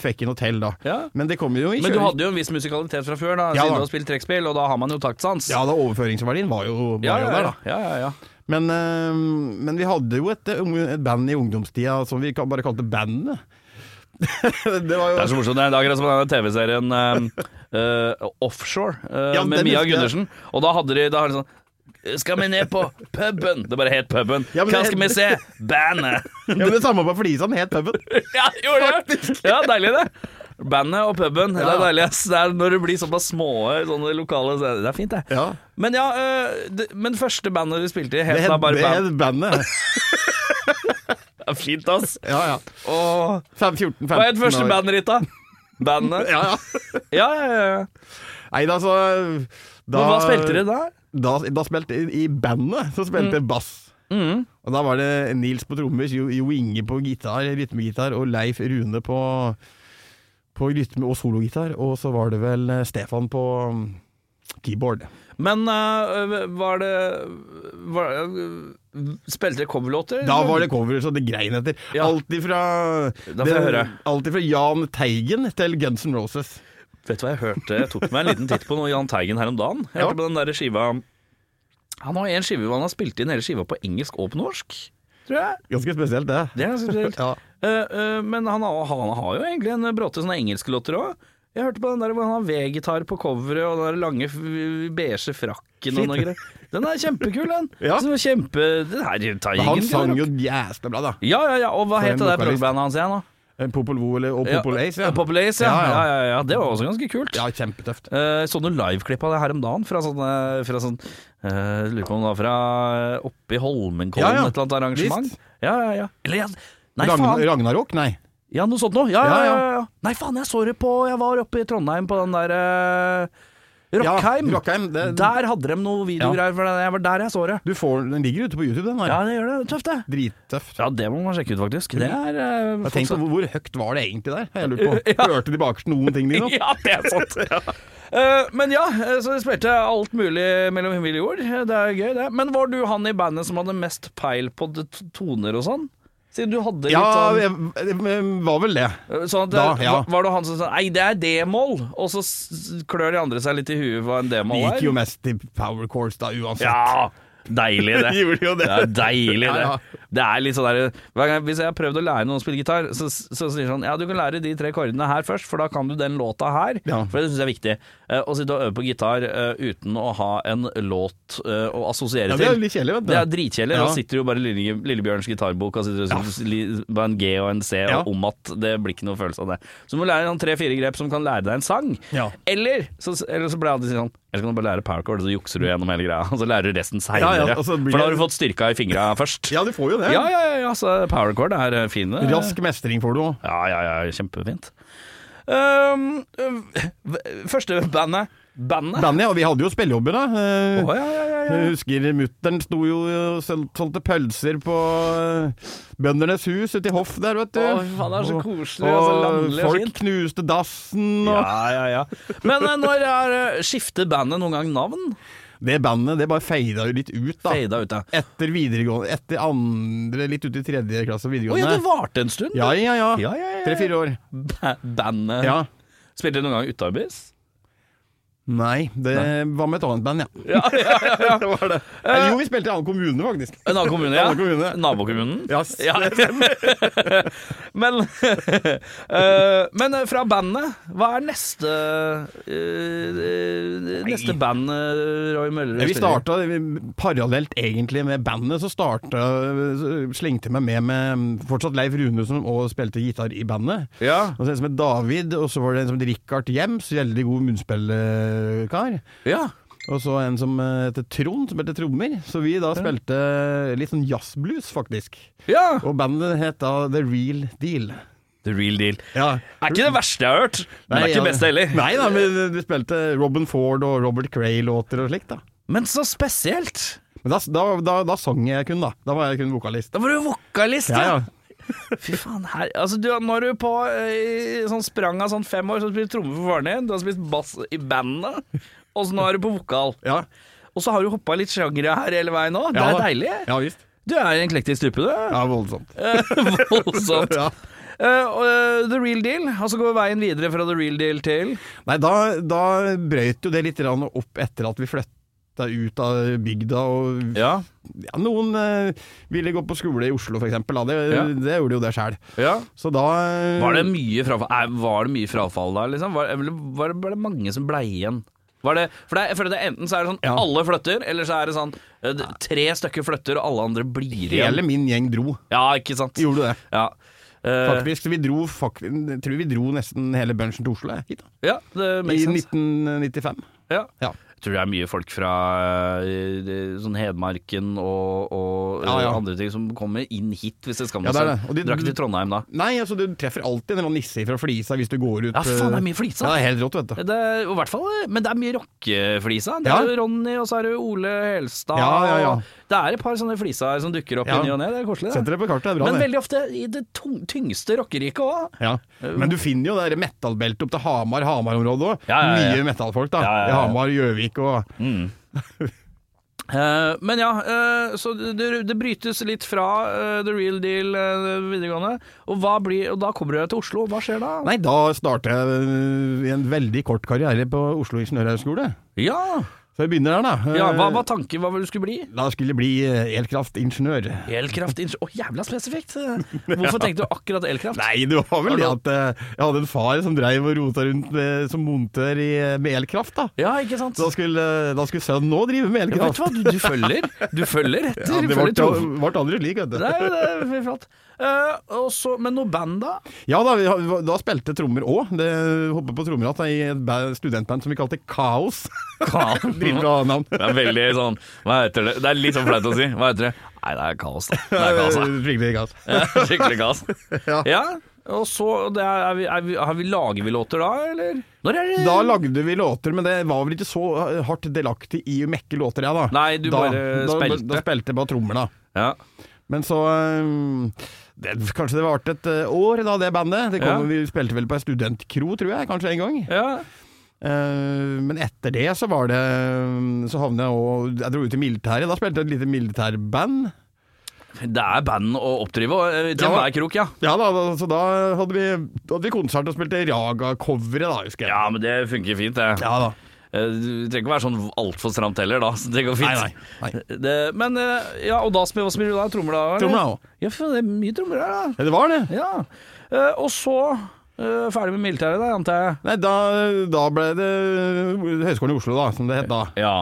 S3: fikk jeg noe til, da.
S2: Ja.
S3: Men det kommer jo i
S2: Men du
S3: kjøring-
S2: hadde jo en viss musikalitet fra før, da,
S3: Ja,
S2: siden
S3: da.
S2: du har spilt trekkspill, og da har man jo taktsans.
S3: Ja, da overføringsverdien var jo, var
S2: ja,
S3: jo
S2: ja,
S3: der, da.
S2: ja, ja, ja, ja.
S3: Men, eh, men vi hadde jo et, eh, et band i ungdomstida som vi bare kalte Bandet. [LAUGHS] det
S2: Det
S3: var
S2: er
S3: jo
S2: så morsomt. Det er akkurat som den TV-serien [LAUGHS] eh, eh, Offshore eh,
S3: Ja,
S2: med
S3: den
S2: Mia
S3: husker jeg.
S2: Gundersen. Og da hadde de, da hadde de sånn Skal vi ned på puben? Det bare het puben.
S3: Ja, men
S2: Hva
S3: det-
S2: skal vi se? Bandet.
S3: ja, men det samme på flisa, den het puben.
S2: [LAUGHS] ja, gjorde det. Ja, deilig det. Bandet og puben. Det er deilig. ass. Det er når det blir såpass små sånne lokale scener. Det er fint, det. [LAUGHS]
S3: Ja.
S2: Men ja, eh, det, men første bandet du spilte i,
S3: Det
S2: het
S3: het,
S2: da bare
S3: det
S2: band.
S3: het Bandet.
S2: Det er fint, ass.
S3: Ja, ja.
S2: Åh.
S3: 5, 14, 15
S2: Hva het første
S3: år.
S2: bandet ditt, da? Bandet?
S3: [LAUGHS] Ja, ja.
S2: Ja, ja, ja.
S3: Nei, da så da,
S2: Men hva spilte dere da?
S3: Da, da spilte I bandet så spilte
S2: Mm.
S3: jeg bass. Og da var det Nils på trommer, Jo, jo Inge på gitar, rytmegitar, og Leif Rune på, på rytme- og sologitar. Og så var det vel eh, Stefan på mm, keyboard.
S2: Men eh, var det var, eh, Spilte dere coverlåter?
S3: Da var det cover, så det grein etter.
S2: Ja.
S3: Alt ifra
S2: Da får jeg
S3: det-
S2: høre.
S3: alt ifra Jahn Teigen til Guns N' Roses.
S2: Vet du hva jeg hørte? Jeg tok meg en liten titt på noe Jahn Teigen her om dagen. Jeg hørte
S3: Ja.
S2: på den der skiva Han har en skive hvor han har spilt inn hele skiva på engelsk og på norsk, tror jeg.
S3: Ganske spesielt, det.
S2: Det er ganske spesielt.
S3: Ja.
S2: Eh, eh, men han, har- han har jo egentlig en bråte sånne engelske låter òg. Jeg hørte på den der hvor han har V-gitar på coveret og den der lange f- beige frakken og noe greier. Den er kjempekul, den.
S3: [LAUGHS] Ja.
S2: Så kjempe, den her tar
S3: Men Han
S2: ingen
S3: sang
S2: rock.
S3: jo jævla bra, da.
S2: Ja, ja, ja. Og hva
S3: For
S2: het
S3: en
S2: det der
S3: vokalist.
S2: progbandet hans igjen? da?
S3: Popol Vo eller- og Popol Ace. Ja.
S2: Popple Ace, ja.
S3: Ja,
S2: Ja,
S3: ja.
S2: ja, ja. Det var også ganske kult.
S3: ja, kjempetøft.
S2: Eh, så noen liveklipp av det her om dagen fra sånn, eh, fra sånn eh, Lurer på om det var fra eh, oppe i Holmenkollen,
S3: Ja, ja.
S2: et eller annet arrangement.
S3: Visst.
S2: Ja, ja, ja. Eller ja, Nei,
S3: Ragn-
S2: faen.
S3: Ragnarok, nei.
S2: Ja, noe sånt noe. Ja, ja,
S3: Ja,
S2: ja.
S3: ja.
S2: ja, ja. Nei, faen, jeg så det på Jeg var oppe i Trondheim på den der eh, Rockheim.
S3: Ja, Rockheim, det-
S2: Der hadde de noe videogreier, for jeg var der jeg så det.
S3: Du får, den ligger ute på YouTube, den her.
S2: Ja, det gjør det. Tøft, det.
S3: Drittøft.
S2: Ja, det må man sjekke ut, faktisk. Det er eh,
S3: Jeg
S2: folk
S3: tenkte
S2: som-
S3: på hvor høyt var det egentlig der? Jeg
S2: [LAUGHS]
S3: lurer på. Hørte de bakerst noen ting, liksom? de nå?
S2: Ja, det er sant. Eh, men ja, eh, så jeg spilte alt mulig mellom himmel og jord. Eh, Det er gøy, det. Men var du han i bandet som hadde mest peil på det- toner og sånn? Siden du hadde litt
S3: Ja,
S2: sånn
S3: jeg, jeg- var vel det.
S2: Eh, Sånn at
S3: Da,
S2: det-
S3: ja.
S2: Var det han som sa Nei, det er D-moll, og så s- s- klør de andre seg litt i huet hva en
S3: Det
S2: D-moll er?
S3: gikk jo mest til power chords da, uansett.
S2: Ja, Deilig, det.
S3: [LAUGHS] Gjorde jo det.
S2: er deilig, det.
S3: Ja, ja.
S2: Det er litt sånn der, hver gang, Hvis jeg har prøvd å lære noen å spille gitar, så, så sier de sånn Ja, du kan lære de tre kordene her først, for da kan du den låta her.
S3: Ja.
S2: For det syns jeg er viktig. Eh, Å sitte og øve på gitar eh, uten å ha en låt eh, å assosiere
S3: Ja, det
S2: til.
S3: er jo litt kjedelig, vet du.
S2: Det er dritkjedelig.
S3: Ja.
S2: Da sitter jo bare Lille, Lillebjørns gitarbok og sitter og synger bare en G og en C og
S3: Ja.
S2: om at det blir ikke noe følelse av det. Så du må lære sånn tre-fire grep som kan lære deg en sang.
S3: Ja.
S2: Eller så, eller så ble jeg alltid sånn Eller så kan du bare lære powercord, og så jukser du gjennom hele greia. [LAUGHS] Og så lærer du resten seinere.
S3: Ja, ja, altså, det blir-
S2: For da har du fått styrka i fingra først.
S3: Ja, du får jo det.
S2: ja, ja, ja, ja, så powercord er eh, fin. det.
S3: Rask mestring får du òg.
S2: Ja, ja, ja, kjempefint. Um, øh, første bandet Bandet?
S3: Bandet, og vi hadde jo spillejobber da. Eh,
S2: Å, ja, ja, ja, ja.
S3: Jeg husker mutteren sto jo og sol- solgte pølser på eh, Bøndernes hus ute i hoff der, vet du.
S2: Å, fy faen, det er så koselig og så
S3: Og
S2: landlig og
S3: folk
S2: fint.
S3: knuste dassen og
S2: Ja, ja, ja. Men eh, når er, eh, skifter bandet noen gang navn?
S3: Det bandet, det bare fada jo litt ut, da.
S2: Fada ut, ja.
S3: Etter videregående Etter andre, litt ut i tredje klasse
S2: Å ja, det
S3: videregående.
S2: varte en stund.
S3: ja, ja, ja.
S2: Ja, ja, ja, ja.
S3: Tre-fire år.
S2: Ba- Bandet
S3: Ja.
S2: Spilte noen gang utarbeis?
S3: Nei, det var med et annet band, ja.
S2: [LAUGHS] Ja, ja, ja, ja.
S3: [LAUGHS]
S2: Eh.
S3: Det var det. Eller, jo, vi spilte i annen kommune, faktisk.
S2: En annen kommune, ja.
S3: En annen kommune.
S2: Nabokommunen.
S3: Ja,
S2: Ja. [LAUGHS] men, [LAUGHS] eh, men fra bandet, hva er neste eh, Neste band eh, Roy Møller
S3: Ja, Vi starta vi- parallelt egentlig med bandet, så starta så Slengte meg med med fortsatt Leif Rune som også spilte gitar i bandet.
S2: Ja.
S3: Og så en som het David, og så var det en som het Richard Jems, veldig god munnspillkar.
S2: ja.
S3: Og så en som eh, heter Trond, som spilte trommer. Så vi da spilte litt sånn jazzblues, faktisk.
S2: ja.
S3: Og bandet het da The Real Deal.
S2: The real deal.
S3: Ja.
S2: Er ikke det verste jeg har hørt, men det er ikke det beste heller.
S3: Nei da, men vi spilte Robin Ford og Robert Cray-låter og slikt, da.
S2: Men så spesielt.
S3: Men da, da, da, da sang jeg kun, da. Da var jeg kun vokalist.
S2: Da var du vokalist,
S3: Ja, ja.
S2: Fy faen, her Altså, du, når du på eh, sånn sprang av sånn fem år, så har du spilt tromme for faren din, du har spilt bass i bandet, og så nå er du på vokal.
S3: Ja.
S2: Og så har du hoppa litt sjangre her hele veien òg. Det
S3: Ja,
S2: er
S3: da.
S2: deilig.
S3: Ja visst.
S2: Du er en eklektisk type, du. Eh,
S3: Ja, voldsomt.
S2: Voldsomt.
S3: Ja.
S2: Eh, og, eh, the real deal. Og så går veien videre fra the real deal til
S3: Nei, da, da brøyt jo det litt grann opp etter at vi flytta ut av bygda. Og
S2: Ja.
S3: ja, noen eh, ville gå på skole i Oslo, for eksempel. Da. Det,
S2: Ja.
S3: det gjorde jo det sjæl.
S2: ja.
S3: Så da
S2: Var
S3: Mm.
S2: det mye frafall, eh, var det mye frafall da, liksom? Var, eller var, det, var det mange som blei igjen? Var det, for det, jeg føler det Enten så er det sånn
S3: Ja.
S2: alle flytter, eller så er det sånn eh, d- tre stykker flytter, og alle andre blir
S3: Hele
S2: igjen.
S3: min gjeng dro.
S2: Ja, ikke sant?
S3: Gjorde det.
S2: Ja. Eh,
S3: Faktisk. Vi dro, fak- jeg tror vi dro nesten hele bunchen til Oslo jeg, hit, da.
S2: ja, det
S3: i
S2: makes sense.
S3: 1995.
S2: Ja.
S3: Ja.
S2: Jeg tror det er mye folk fra eh, eh, sånn Hedmarken og, og eh,
S3: Ja, ja.
S2: andre ting som kommer inn hit hvis det skal
S3: Ja,
S2: noe
S3: det er
S2: sted.
S3: det. Og de-
S2: Drar ikke til Trondheim da.
S3: Nei, altså du treffer alltid en eller annen nisse fra Flisa hvis du går ut
S2: Ja, faen, det er
S3: eh,
S2: mye flisa.
S3: Ja, det er helt rått, vet du.
S2: Det er, og i hvert fall, eh, men det er mye rockeflisa. Det
S3: Ja.
S2: er jo Ronny, og så er det Ole Helstad.
S3: Ja, ja, ja.
S2: og Det er et par sånne flisa som dukker opp
S3: Ja.
S2: i ny og ne. Det er koselig.
S3: Setter
S2: Det.
S3: det på kartet, det er bra,
S2: Men
S3: det.
S2: veldig ofte i det tung, tyngste rockeriket òg.
S3: Ja. Men du finner jo det der metallbeltet opp til Hamar, Hamar-området òg.
S2: Ja, ja, ja.
S3: Mye metallfolk, da.
S2: Ja, ja, ja.
S3: I Hamar, Gjøvik og
S2: men ja, eh, så det, det brytes litt fra eh, the real deal eh, videregående. Og, hva blir, og da kommer du til Oslo. Hva skjer da?
S3: Nei, da starter jeg øh, en veldig kort karriere på Oslo ingeniørhøgskole.
S2: Ja,
S3: Så jeg begynner der, da.
S2: ja
S3: Eh,
S2: Hva var tanken? Hva ville du skulle bli?
S3: Da skulle jeg bli eh, elkraftingeniør.
S2: Elkraft? Å, jævla spesifikt! Hvorfor tenkte du akkurat elkraft?
S3: Nei, det var vel det
S2: Har
S3: at eh, jeg hadde en far som dreiv og rota rundt med, som montør i, eh, med elkraft, da.
S2: Ja, ikke sant?
S3: Så da skulle, eh, da skulle sønnen òg drive med
S2: Ja, vet
S3: elkraft.
S2: du hva, du, du følger. Du følger etter.
S3: Ja,
S2: du
S3: det
S2: følger
S3: ble,
S2: tro-
S3: ble aldri slik, vet du.
S2: Nei, det er fy flate. Eh, og så- men noe band, da?
S3: Ja da, vi, har- da spilte trommer òg. Hoppet på trommeratt i et ba- studentband som vi kalte Kaos. [LAUGHS]
S2: [LAUGHS]
S3: Dritbra navn.
S2: Det Mhm. er veldig sånn Hva heter det? Det er litt sånn flaut å si. Hva heter det? Nei, det er kaos, da. Det er kaos, da.
S3: Skikkelig Eh, kaos.
S2: Ja, [LAUGHS] Skikkelig kaos.
S3: Ja.
S2: Ja, og så det er, er vi, er vi, har vi, Lager vi låter da, eller? Når er det?
S3: Da lagde vi låter, men det var vel ikke så eh, hardt delaktig i å mekke låter, jeg da.
S2: Nei, du
S3: da,
S2: bare
S3: da,
S2: spilte.
S3: Da spilte jeg bare trommer, da.
S2: ja.
S3: Men så øhm, det, Kanskje det varte et øh, år, da, det bandet. Det kom,
S2: Ja.
S3: Vi spilte vel på ei studentkro, tror jeg, kanskje en gang.
S2: ja.
S3: Eh, men etter det så var det øhm, Så havnet jeg òg Jeg dro ut i militæret. Da spilte jeg et lite militærband.
S2: Det er band å oppdrive og, eh, til
S3: Ja.
S2: enhver krok, ja.
S3: Ja da, da- så da hadde vi, da hadde vi konsert og spilte Raga-coveret, da, husker jeg.
S2: Ja, men det funker fint, det.
S3: Ja da.
S2: eh, Du trenger ikke være sånn altfor stramt heller, da. [LAUGHS] Så det går fint.
S3: Nei, nei,
S2: Det, men eh, ja, og da spiller, hva spiller du da? Trommer da? eller?
S3: Trommer da også.
S2: Ja, for det er mye trommer her, da.
S3: Ja, det var det.
S2: Ja. Eh, og så eh, ferdig med militæret, da, antar jeg.
S3: Nei, da, da ble det Høgskolen i Oslo, da, som det het da.
S2: Ja.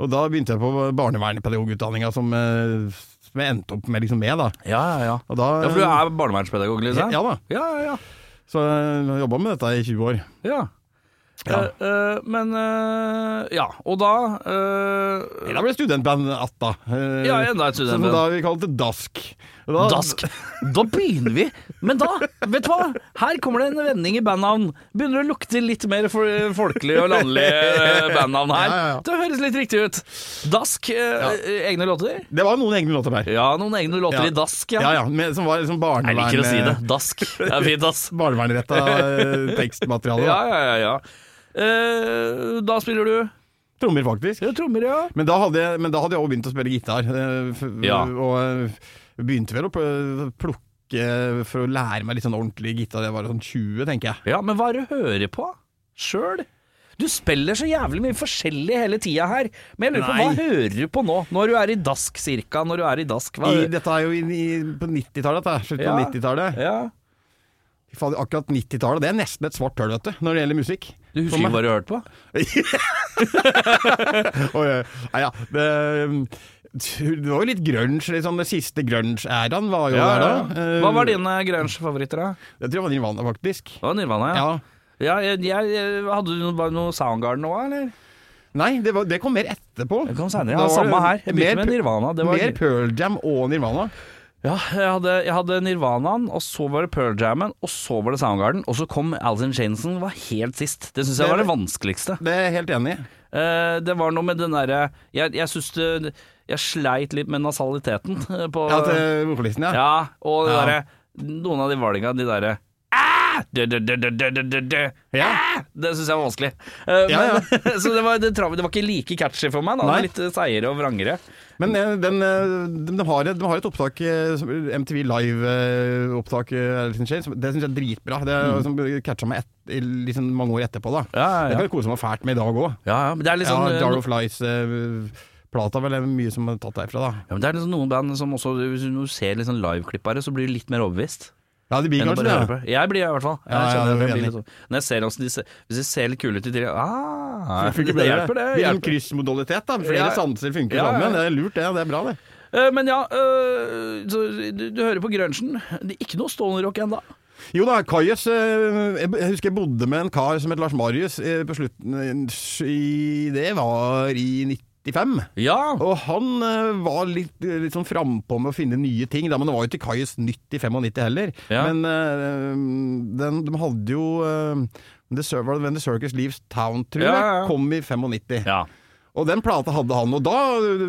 S3: Og da begynte jeg på barnevernpedagogutdanninga som, eh, som jeg endte opp med, liksom, med da.
S2: Ja, ja, ja.
S3: Og da
S2: Ja, For du er barnevernspedagog, liksom?
S3: Ja da.
S2: Ja, ja, ja.
S3: Så jeg jobba med dette i 20 år.
S2: ja.
S3: Ja.
S2: Eh, eh, men eh, ja, og da eh,
S3: Da ble studentband atta. eh,
S2: Ja, enda et
S3: Som
S2: studentband.
S3: da vi kalte DASK. Og da-
S2: Dask. Da begynner vi. Men da, vet du hva? Her kommer det en vending i bandnavn. Begynner det å lukte litt mer for, folkelig og landlig eh, bandnavn her.
S3: Ja, ja, ja.
S2: Det høres litt riktig ut. Dask. Eh, eh, Egne låter?
S3: Det var noen egne låter der.
S2: Ja, noen egne låter
S3: Ja.
S2: i dask,
S3: Ja,
S2: ja.
S3: ja, med, som var liksom barnevern,
S2: Jeg liker å si det. Dask. Det er fint, ass.
S3: barnevernretta eh, tekstmateriale.
S2: Ja,
S3: da.
S2: ja, ja. ja. Eh, da spiller du
S3: Trommer, faktisk.
S2: ja, trommer, ja.
S3: Men da hadde jeg, men da hadde jeg også begynt å spille gitar. eh, f-
S2: Ja.
S3: Og eh, begynte vel å pl- plukke for å lære meg litt sånn ordentlig gitar. Jeg var sånn 20, tenker jeg.
S2: Ja, men hva er det du hører på sjøl? Du spiller så jævlig mye forskjellig hele tida her, men jeg lurer på
S3: Nei.
S2: hva hører du på nå? Når du er i dask cirka, når du er i dask hva
S3: I, dette er jo inn i, på 90-tallet. dette er Slutten
S2: Ja.
S3: av 90-tallet.
S2: ja.
S3: Fy faen, Akkurat 90-tallet, det er nesten et svart hull, vet du, når det gjelder musikk. [LAUGHS]
S2: Du husker ikke hva du hørte på?
S3: Og, eh, nei, ja, det, mm, det var jo litt grunge, litt sånn, den siste grunge-æraen var jo der da. Eh,
S2: Hva var dine grunge-favoritter, da?
S3: Jeg tror det var Nirvana, faktisk.
S2: Det var Nirvana, ja.
S3: Ja.
S2: ja. jeg, jeg, jeg- hadde du noe, noe Soundgarden òg, eller?
S3: Nei, det, var, det kom mer etterpå.
S2: Det kom senere.
S3: Da
S2: Ja,
S3: var
S2: samme
S3: det
S2: her. Jeg begynte
S3: mer
S2: med
S3: pu-
S2: Nirvana. Det var,
S3: Mer Pearl Jam og Nirvana.
S2: ja, jeg hadde, jeg hadde Nirvanaen, og så var det Pearl Jammen, og så var det Soundgarden, og så kom Alison Jansen, var helt sist. Det syns jeg
S3: Det-
S2: var det vanskeligste.
S3: Det er jeg helt enig i.
S2: Eh, det var noe med den derre Jeg, jeg syns det Jeg sleit litt med nasaliteten eh, på
S3: Ja, til vokalisten, ja.
S2: Ja, og det
S3: Ja.
S2: derre Noen av de valinga, de derre «Ah!» Dø, dø, dø, dø, dø, dø, dø.
S3: Ja.
S2: Det syns jeg var vanskelig. Eh,
S3: Ja, ja.
S2: men- [LAUGHS] så det var, det, trav, det var ikke like catchy for meg. Da. Det
S3: Nei.
S2: var litt eh, seigere og vrangere.
S3: Men eh, den, eh, de, de, har et, de har et opptak, eh, som- MTV Live-opptak, det syns jeg eh, er dritbra. Det er, som catcha meg et, i liksom mange år etterpå. da
S2: Mm. Ja, ja,
S3: Det
S2: ja.
S3: kan jeg kose meg fælt med i dag òg.
S2: Ja, ja, men det er liksom
S3: ja,
S2: eh,
S3: Jar
S2: no-
S3: of Lies eh, Plata vel er mye som er tatt derfra da
S2: ja, men det er liksom noen band som også Hvis du ser litt sånn liveklippere, så blir du litt mer overbevist.
S3: Ja, det blir
S2: enn å
S3: kanskje
S2: bare
S3: det
S2: høre på. Jeg blir det i hvert fall. Jeg
S3: Ja, ja,
S2: kjenner
S3: det er
S2: at jeg
S3: jeg
S2: blir
S3: enig.
S2: litt sånn- Når jeg ser hvordan de ser Hvis de ser litt kule ut, de tenker jeg, ah,
S3: Funker
S2: det
S3: bedre.
S2: hjelper, det.
S3: Blir en
S2: hjelper.
S3: kryssmodalitet da Flere
S2: Ja.
S3: sanser funker
S2: Ja, ja, ja.
S3: sammen Det er lurt det, det er bra det
S2: Eh, Men ja, eh, så du, du hører på grunchen. Det er ikke noe stående rock ennå.
S3: Jo da, Kajus eh, Jeg jeg husker jeg bodde med en kar som het Lars Marius eh, På slutten eh, i, Det var i 95
S2: Ja.
S3: Og han eh, var litt, litt sånn frampå med å finne nye ting, da, men det var jo ikke Kajus nytt i 95 heller.
S2: Ja.
S3: Men eh, den, de hadde jo eh, The, Cir- var det When The Circus Leaves Town, tror jeg,
S2: Ja, ja, ja.
S3: kom i 95.
S2: Ja.
S3: Og den plata hadde han, og da,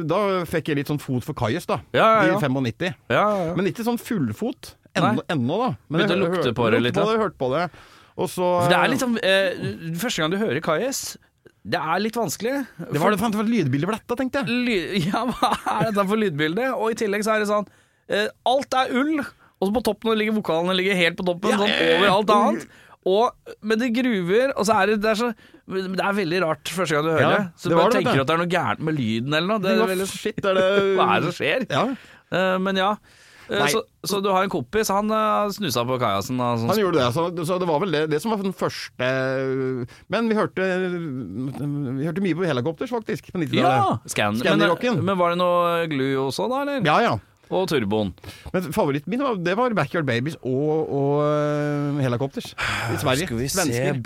S3: da fikk jeg litt sånn fot for Kajus, da.
S2: Ja, ja, ja.
S3: I 95.
S2: ja, ja.
S3: Men ikke sånn fullfot
S2: Nei.
S3: ennå, ennå da. Men
S2: Begynte å
S3: jeg hør-
S2: lukte på det
S3: lukte
S2: litt,
S3: På
S2: da.
S3: det, hørte på det. Og så
S2: For det er litt sånn eh, Første gang du hører Kajus, det er litt vanskelig.
S3: Det var, det var et lydbilde for dette, tenkte jeg.
S2: Ly [LAUGHS] ja, hva er dette for lydbilde? Og i tillegg så er det sånn eh, Alt er ull, og så på toppen ligger vokalene ligger helt på toppen, sånn over alt annet. Og, men det gruver, og så er det, det er så men Det er veldig rart første gang du hører
S3: Ja,
S2: det. Så du
S3: det var
S2: bare
S3: det, vet
S2: tenker
S3: du.
S2: at det er noe gærent med lyden eller noe. Det er
S3: Hva
S2: veldig,
S3: Shit, er det
S2: [LAUGHS] hva er det som skjer?
S3: Ja.
S2: Eh, men ja. Eh,
S3: Nei.
S2: så, så du har en kompis, han eh, snusa på kajasen. da, Sånn,
S3: Han gjorde det, altså. så, så det var vel det, det som var den første Men vi hørte Vi hørte mye på helikopters, faktisk, på 90-tallet.
S2: ja, scan.
S3: Scandi-rocken.
S2: Men, men var det noe glue også, da? eller?
S3: Ja, ja.
S2: Og turboen.
S3: Men favoritten min var, det var Backyard Babies og, og øh, helikopters.
S2: Ah,
S3: I Sverige. Svensker.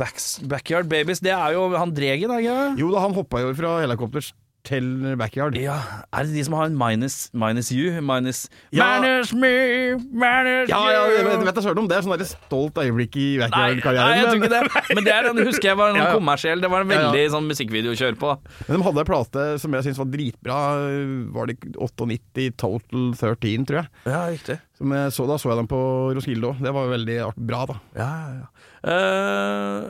S2: Backyard Babies. Det er jo han Dregen, er det ikke det?
S3: Jo da, han hoppa jo fra helikopters til backyard.
S2: Ja, er det de som har en minus, minus you, minus
S3: Ja.
S2: Minus me, minus
S3: Ja, ja,
S2: you
S3: jeg vet, vet da søren om det. er Sånn der stolt øyeblikk i
S2: Nei, nei, jeg tror
S3: backyard-karrieren.
S2: ikke
S3: [LAUGHS] Men,
S2: det. Men det er, den husker jeg var en
S3: Ja, ja.
S2: kommersiell. Det var en
S3: Ja, ja.
S2: veldig sånn musikkvideokjør på.
S3: men de hadde ei plate som jeg syntes var dritbra. Var det 98 Total 13, tror jeg.
S2: Ja, riktig.
S3: Som jeg så, da så jeg dem på Roskilde òg. Det var veldig art- bra, da.
S2: Ja, ja, ja. Eh,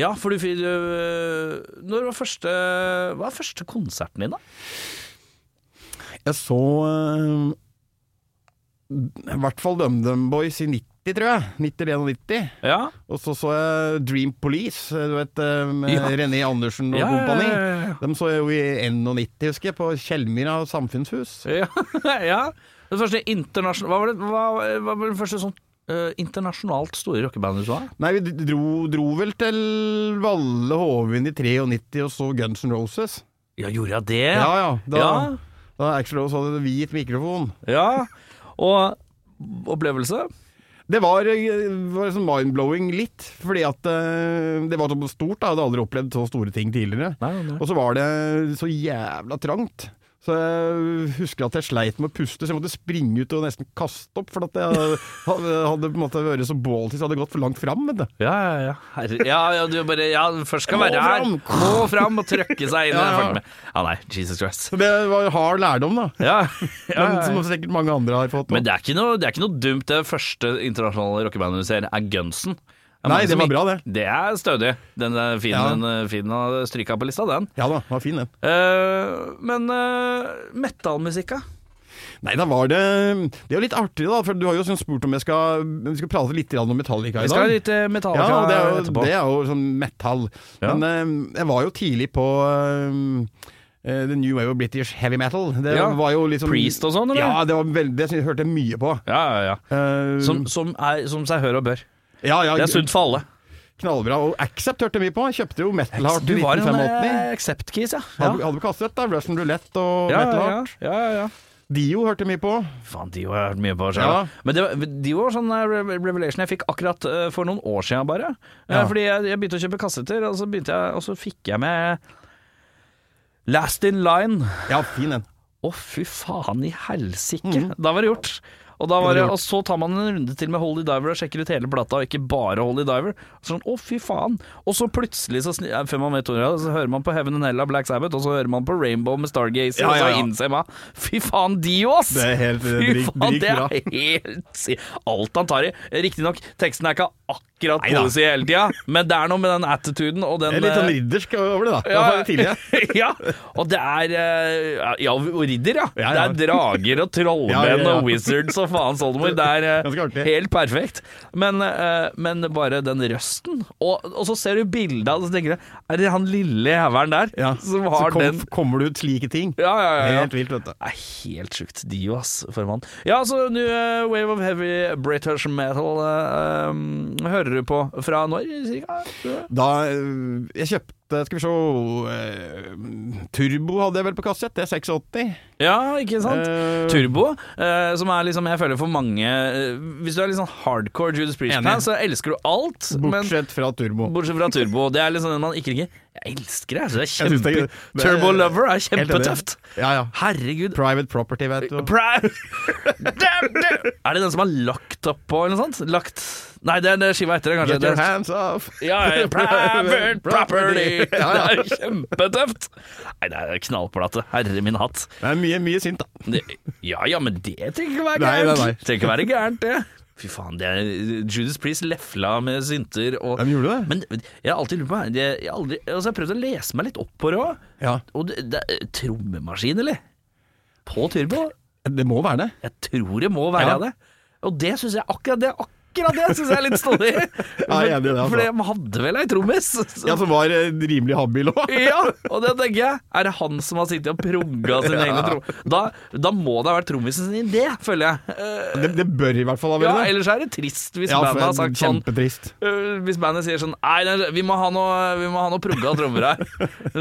S2: ja, for du fikk du- Når var første Hva er første konserten din, da?
S3: Jeg så eh, i hvert fall DumDum Boys i 90, 90, tror jeg. 90 eller 91.
S2: Ja.
S3: Og så så jeg Dream Police, du vet, eh, med
S2: Ja.
S3: René Andersen og
S2: Ja, ja,
S3: kompani.
S2: ja, ja.
S3: De så jo i 91, husker jeg, på Kjellmyra
S2: [LAUGHS]
S3: samfunnshus.
S2: Ja. ja. Den første internasjonale Hva var det hva, hva var den første sånn eh, internasjonalt store rockebandet du så?
S3: Nei, vi dro, dro vel til Valle Hovin i 93 og så Guns N' Roses.
S2: Ja, gjorde jeg det?
S3: Ja, ja. Da,
S2: Ja.
S3: da Axl Rose hadde hvit mikrofon.
S2: Ja. Og opplevelse?
S3: Det var, eh, var sånn mind-blowing litt, fordi at eh, det var så stort. Da. Jeg hadde aldri opplevd så store ting tidligere.
S2: Nei, nei.
S3: Og så var det så jævla trangt. Så jeg husker at jeg sleit med å puste, så jeg måtte springe ut og nesten kaste opp. For
S2: [LAUGHS]
S3: at jeg hadde, hadde på en måte vært så båltis, hadde gått for langt fram. Vet du.
S2: Ja, ja, ja. Herre, ja, ja, du bare ja, først skal
S3: Må
S2: være her,
S3: fram.
S2: må fram og trøkke seg inn.
S3: Ja,
S2: ja,
S3: ja.
S2: ja, nei, Jesus Christ.
S3: Så det var hard lærdom, da.
S2: Ja, ja, ja,
S3: Men, som
S2: ja.
S3: sikkert mange andre har fått. da.
S2: Men det er, ikke noe, det er ikke noe dumt. Det første internasjonale rockebandet du ser, er Gunsen. Det er
S3: Nei,
S2: mange
S3: det
S2: som
S3: var
S2: ikke-
S3: bra, det.
S2: Det er stødig. Den er fin,
S3: Ja.
S2: den er fin å stryke av på lista, den.
S3: Ja da, var fin den.
S2: Eh, men uh, metallmusikka?
S3: Nei, da var det Det er jo litt artig, da. For du har jo sånn spurt om jeg skal Vi skal prate litt grann om Metallica
S2: Vi
S3: i
S2: skal ha
S3: dag.
S2: litt eh, Metallica
S3: Ja, og det er, jo,
S2: etterpå.
S3: det er jo sånn metal.
S2: Ja.
S3: Men eh, jeg var jo tidlig på eh, eh, The New Wave of British Heavy Metal. Det
S2: Ja.
S3: var jo liksom
S2: Priest og sånn, eller?
S3: Ja, det, var veldig, det sy- hørte jeg mye på.
S2: Ja, ja, ja.
S3: Eh,
S2: Som, som, er, som seg hør og bør.
S3: ja, ja,
S2: Det er sunt for alle.
S3: knallbra. Og Accept hørte jeg mye på. Jeg kjøpte jo Metal Heart
S2: Du
S3: i
S2: var en
S3: 1985.
S2: eh, accept-kis, ja. ja.
S3: Hadde, hadde på kassett da, Russian Roulette og
S2: Ja,
S3: Metal
S2: ja, ja.
S3: Heart.
S2: ja, ja, ja.
S3: Dio hørte jeg mye på.
S2: Faen, de har jeg hørt mye på selv.
S3: Ja.
S2: Men det var, de var sånn eh, re- revelation jeg fikk akkurat eh, for noen år siden bare. Eh,
S3: Ja.
S2: Fordi jeg, jeg begynte å kjøpe kassetter, og så, begynte jeg, og så fikk jeg med Last in Line. Å,
S3: Ja, fin en.
S2: fy faen i helsike! Da var det gjort. Og, da var
S3: Mhm. Det
S2: det,
S3: var
S2: og så tar man en runde til med Holy Diver og sjekker ut hele plata, og ikke bare Holy Diver. Sånn, å fy faen Og så plutselig, så, sni- eh, før man vet ordet av det, så hører man på Heaven and Hell av Black Sabbath, og så hører man på Rainbow med Stargazer,
S3: Ja,
S2: og
S3: ja, ja.
S2: så innser man Fy faen, de òg, ass!
S3: Det er helt eh,
S2: Fy
S3: drik-
S2: faen,
S3: drik
S2: det
S3: bra.
S2: er helt si- Alt han tar i. Riktignok, teksten er ikke akkurat
S3: Neida.
S2: policy hele tida, men det er noe med den attituden og den
S3: Det er litt sånn
S2: eh,
S3: riddersk over det, da. I
S2: ja,
S3: hvert fall
S2: [LAUGHS]
S3: tidlig.
S2: ja, og det er eh, Ja, og ridder, ja.
S3: Ja, ja.
S2: Det er drager og trollmenn
S3: [LAUGHS] Ja, ja, ja.
S2: og wizards og faens oldemor. Det er eh,
S3: [LAUGHS] Ganske artig.
S2: helt perfekt. Men, eh, men bare den røsten. Og, og så ser du bildet av det, så tenker du Er det han lille jævelen der
S3: Ja.
S2: som har
S3: så kom,
S2: den
S3: kommer det ut slike ting.
S2: ja, ja, ja, ja.
S3: Helt vilt, vet du.
S2: Det er helt sjukt. Dio, ass, for mann. Ja, altså, New eh, Wave of Heavy British Metal eh, um, hører du på fra når, cirka?
S3: Da øh, Jeg kjøpte Skal vi se øh, Turbo hadde jeg vel på kassett. Det er 86.
S2: Ja, ikke sant?
S3: Eh,
S2: Turbo, eh, som er liksom, jeg føler for mange eh, Hvis du er litt sånn hardcore Judas Priest-fan,
S3: Enig.
S2: så elsker du alt. Men
S3: Bortsett fra Turbo.
S2: Bortsett fra Turbo. Det er liksom den man ikke liker. Jeg elsker det. Jeg synes
S3: Jeg synes
S2: det er
S3: det er-
S2: kjempe...
S3: det er-
S2: Turbo Lover er
S3: Helt enig.
S2: kjempetøft.
S3: Ja, ja.
S2: Herregud.
S3: Private Property, vet du.
S2: Pra- [LAUGHS] Damn, damn. Er det den som har lagt oppå, eller noe sånt? Lagt Nei, det er det skiva etter det, kanskje.
S3: Get your
S2: Det er-
S3: hands off!
S2: ja, ja, private property! Det
S3: [LAUGHS] Ja, ja.
S2: er kjempetøft! Nei, det er knallplate. Herre min hatt.
S3: Det er mye, mye sint, da.
S2: Det, ja ja, men det trenger ikke være
S3: Nei, nei,
S2: gærent.
S3: nei.
S2: Trenger ikke være gærent, det. Fy faen, det er Judas Priest lefla med synter og
S3: Ja, men gjorde du det?
S2: Men jeg har alltid lurt på det. Jeg, har aldri, altså, jeg har prøvd å lese meg litt opp på det òg.
S3: Ja,
S2: Og det, det er trommemaskin, eller? På turbo?
S3: det må være det.
S2: Jeg tror det må være
S3: Ja.
S2: det. Og det syns jeg akkurat det akkurat det syns jeg er litt stålig.
S3: Ja, [LAUGHS] jeg er enig i det, altså.
S2: For jeg hadde vel ei trommis. så-
S3: Ja, som var eh, rimelig habil òg.
S2: ja, og det tenker jeg. Er det han som har sittet og progga sine egne trommer? Da, da må det ha vært trommisen sin idé, føler jeg. Eh,
S3: Det, det bør i hvert fall
S2: ja,
S3: ha vært det.
S2: ellers er det trist hvis
S3: Ja,
S2: bandet har
S3: for
S2: sagt sånn
S3: Kjempetrist.
S2: eh, Hvis bandet sier sånn Nei, det er- vi må ha noe, vi må ha noe progga trommer her.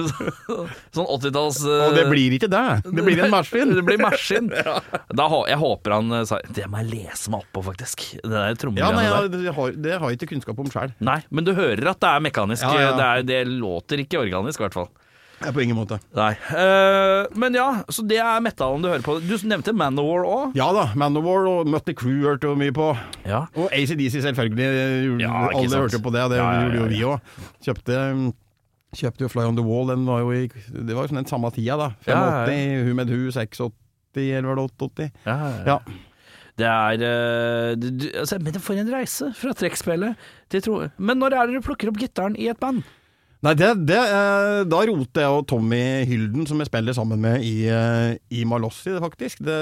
S3: [LAUGHS]
S2: sånn 80-talls eh,
S3: Og det blir ikke det. [LAUGHS] Det blir en marsvin.
S2: [LAUGHS] det blir maskin.
S3: [LAUGHS]
S2: Da hå- Jeg håper han eh, sa Det må jeg lese meg opp på, faktisk. Det der
S3: Ja, nei,
S2: trommegreiene
S3: ja,
S2: der.
S3: det, har, det har jeg ikke kunnskap om sjøl.
S2: Nei, men du hører at det er mekanisk.
S3: Ja, ja.
S2: Det, er, det låter ikke organisk, i hvert fall.
S3: På ingen måte.
S2: Nei. Eh, men ja, så det er metallen du hører på. Du nevnte Manowar òg.
S3: Ja da, Manowar og Mutt the Crew hørte jo mye på.
S2: Ja.
S3: Og ACDC selvfølgelig. eh, gjorde-
S2: Ja, ikke
S3: alle
S2: sant.
S3: hørte på det, og det
S2: Ja, ja, ja,
S3: gjorde jo vi òg. Kjøpte, kjøpte jo Fly on the Wall, den var jo i, det var jo sånn den samme tida, da. 85,
S2: Ja, ja, ja.
S3: Who Made Who, 86 eller var det 88?
S2: ja.
S3: Ja.
S2: Det er eh, du, du, altså, Men for en reise! Fra trekkspillet til tro... Men når er det du plukker opp gitaren i et band?
S3: Nei, det, det, eh, da roter jeg og Tommy Hylden, som jeg spiller sammen med i, eh, i Malossi, faktisk. Det,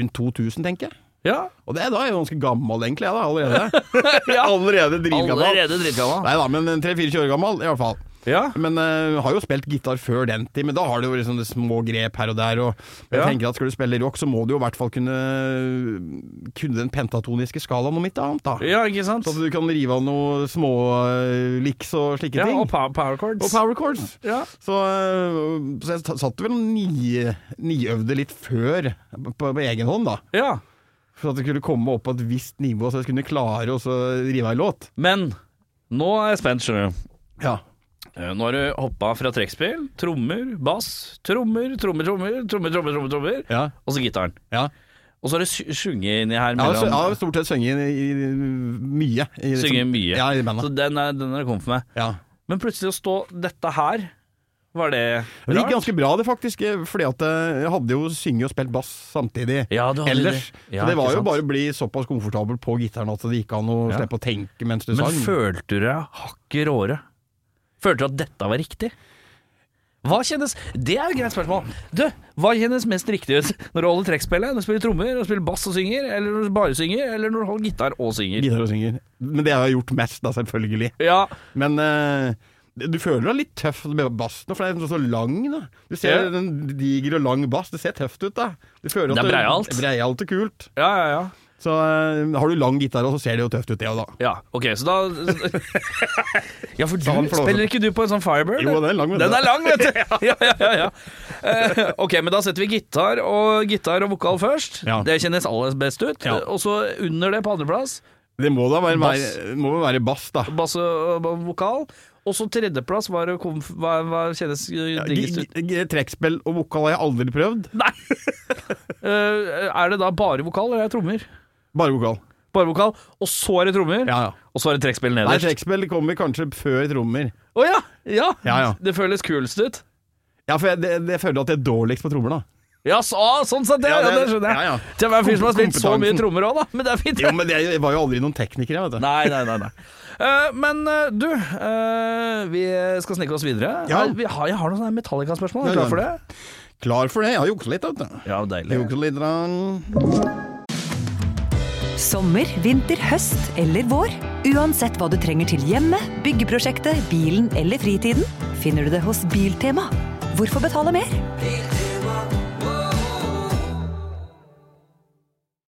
S3: rundt 2000, tenker jeg.
S2: Ja.
S3: Og det, da er jeg ganske gammel egentlig, jeg da, allerede.
S2: [LAUGHS] Ja.
S3: Allerede dritgammal.
S2: Allerede dritgammal.
S3: Nei da, men 3-4 år gammel i hvert fall.
S2: Ja.
S3: Men eh, har jo spilt gitar før den tid, men da har du jo liksom det små grep her og der. Og jeg
S2: Ja.
S3: tenker at Skal du spille rock, så må du jo i hvert fall kunne Kunne den pentatoniske skalaen om ikke annet, da.
S2: ja, ikke sant?
S3: Så at Sånn du kan rive av noen små eh, licks og slike
S2: Ja,
S3: ting.
S2: og pow- power chords.
S3: Og power chords.
S2: Ja.
S3: Så, eh, så jeg ta- satt vel og ni, niøvde litt før, på, på egen hånd, da.
S2: ja.
S3: For at jeg skulle komme opp på et visst nivå, så jeg skulle klare å så rive av en låt.
S2: Men nå er jeg spent, skjønner du.
S3: Ja.
S2: Eh, Nå har du hoppa fra trekkspill, trommer, bass, trommer, trommer, trommer, trommer, trommer, trommer, trommer
S3: Ja.
S2: og så gitaren.
S3: ja.
S2: Og så har du sy- sunget inni her
S3: Jeg har, sø- jeg har
S2: mellom
S3: stort sett sunget i, i, mye. I, liksom-
S2: Sunget mye.
S3: Ja,
S2: Så
S3: i bandet.
S2: den er, den er kommet med.
S3: Ja.
S2: Men plutselig å stå dette her, var det
S3: Men det gikk
S2: rart?
S3: ganske bra, det faktisk. eh, Fordi at eh, jeg hadde jo synge og spilt bass samtidig.
S2: Ja, du hadde
S3: Ellers.
S2: det. Ja,
S3: så det
S2: ikke
S3: var jo
S2: sant.
S3: bare å bli såpass komfortabel på gitaren at det gikk an å
S2: Ja.
S3: slippe å tenke mens du
S2: Men
S3: sang.
S2: følte du deg hakket råere? Følte du at dette var riktig? Hva kjennes Det er jo et greit spørsmål. Du, hva kjennes mest riktig ut? Når du holder trekkspillet, når du spiller trommer, når du spiller bass og synger, eller når du bare synger, eller når du holder gitar og synger?
S3: Gitar og synger. Men det har jeg gjort mest, da, selvfølgelig.
S2: Ja,
S3: Men eh, du føler deg litt tøff med bassen, for det er liksom så lang. da Du ser
S2: Ja.
S3: en diger og lang bass, det ser tøft ut. da du føler
S2: Det er
S3: at
S2: breialt.
S3: Breialt og kult.
S2: ja, ja. ja.
S3: Så eh, har du lang gitar, også, så ser det jo tøft ut, det òg, da.
S2: Ja, ok, så da [LAUGHS] Ja, for du,
S3: Sa han flåsete.
S2: spiller ikke du på en sånn Firebird?
S3: Jo, den er lang, vet du.
S2: Den er lang, vet du!
S3: [LAUGHS]
S2: Ja, ja, ja, ja. Eh, ok, men da setter vi gitar og, gitar og vokal først.
S3: Ja.
S2: Det kjennes aller best ut.
S3: Ja.
S2: Og så under det, på andreplass,
S3: Det må da være,
S2: Bass.
S3: være, må vel være bass, da.
S2: bass og og vokal. Og så tredjeplass, hva, er det kom- hva, hva kjennes eh,
S3: Ja,
S2: diggest ut?
S3: g- g- Trekkspill og vokal har jeg aldri prøvd.
S2: Nei! Eh, er det da bare vokal, eller er det trommer?
S3: Bare vokal.
S2: Bare vokal, og så er det trommer,
S3: Ja, ja.
S2: og så er det trekkspill
S3: Nei,
S2: nederst.
S3: trekkspill kommer kanskje før trommer.
S2: Å ja, ja.
S3: Ja, ja.
S2: Det føles kulest ut.
S3: Ja, for jeg, det, det, jeg føler at jeg er dårligst på trommer, da.
S2: Ja, så, ah, sånn sett, ja, ja, det skjønner jeg.
S3: Ja, ja.
S2: Til å være en fyr som har spilt så mye
S3: Kompetansen.
S2: trommer òg, da. Men det er fint.
S3: Jo, men det- jeg var jo aldri noen tekniker, jeg, vet du.
S2: Nei, nei, nei. nei. Eh, men eh, du, eh, vi skal snike oss videre.
S3: Ja.
S2: Her- vi har, jeg har noen sånne Metallica-spørsmål. Er du
S3: Ja,
S2: klar for det?
S3: ja. Klar for det. Jeg har juksa litt, vet du.
S2: Ja,
S3: Jeg
S2: deilig.
S3: juksa litt. grann.
S4: Sommer, vinter, høst eller vår. Uansett hva du trenger til hjemme, byggeprosjektet, bilen eller fritiden, finner du det hos Biltema. Hvorfor betale mer?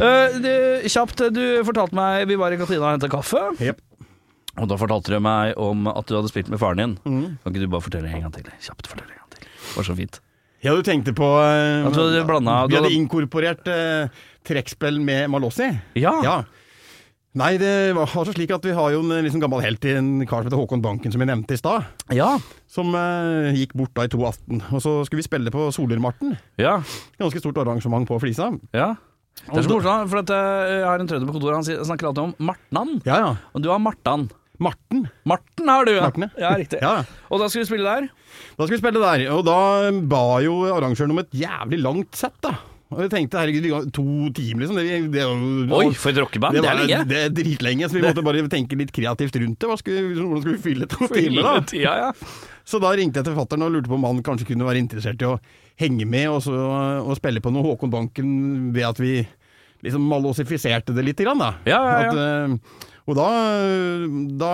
S2: Eh, du, kjapt, du fortalte meg Vi var i kantina og henta kaffe.
S3: Jep.
S2: Og da fortalte du meg om at du hadde spilt med faren din.
S3: Mm.
S2: Kan ikke du bare fortelle en gang til? Kjapt fortelle en gang til. Det var så fint.
S3: Ja, du tenkte på eh,
S2: At du hadde blandet-
S3: Vi
S2: du
S3: hadde
S2: hadde-
S3: inkorporert eh, trekkspill med Malossi.
S2: Ja.
S3: Ja. Nei, det var altså slik at vi har jo en eh, liksom gammel helt i en kar som heter Håkon Banken, som jeg nevnte i stad.
S2: Ja.
S3: Som eh, gikk bort da i 2018. Og så skulle vi spille på Solørmarten.
S2: ja.
S3: Ganske stort arrangement på Flisa.
S2: ja. Det er så morsomt, for at eh, jeg har en trønder på kontoret, han sier- snakker alltid om Martnan.
S3: Ja, ja.
S2: Og du har Martan.
S3: Marten.
S2: Marten har du, ja.
S3: Marten,
S2: ja
S3: ja.
S2: riktig.
S3: Ja, ja.
S2: Og da skal vi spille der.
S3: Da skulle vi spille der, og da ba jo arrangøren om et jævlig langt sett, da. Og jeg tenkte herregud, vi har to timer, liksom. Det, det, det,
S2: Oi, for et rockeband. Det,
S3: var-
S2: er lenge.
S3: Det er dritlenge, så vi måtte bare tenke litt kreativt rundt det. Hva skulle, hvordan skulle vi fylle to timer, da?
S2: [LAUGHS] Ja, ja.
S3: Så da ringte jeg til fattern og lurte på om han kanskje kunne være interessert i å henge med og, så, og spille på noe Håkon Banken ved at vi liksom malosifiserte det litt, grann, da.
S2: Ja, ja, ja.
S3: At, eh, og da, da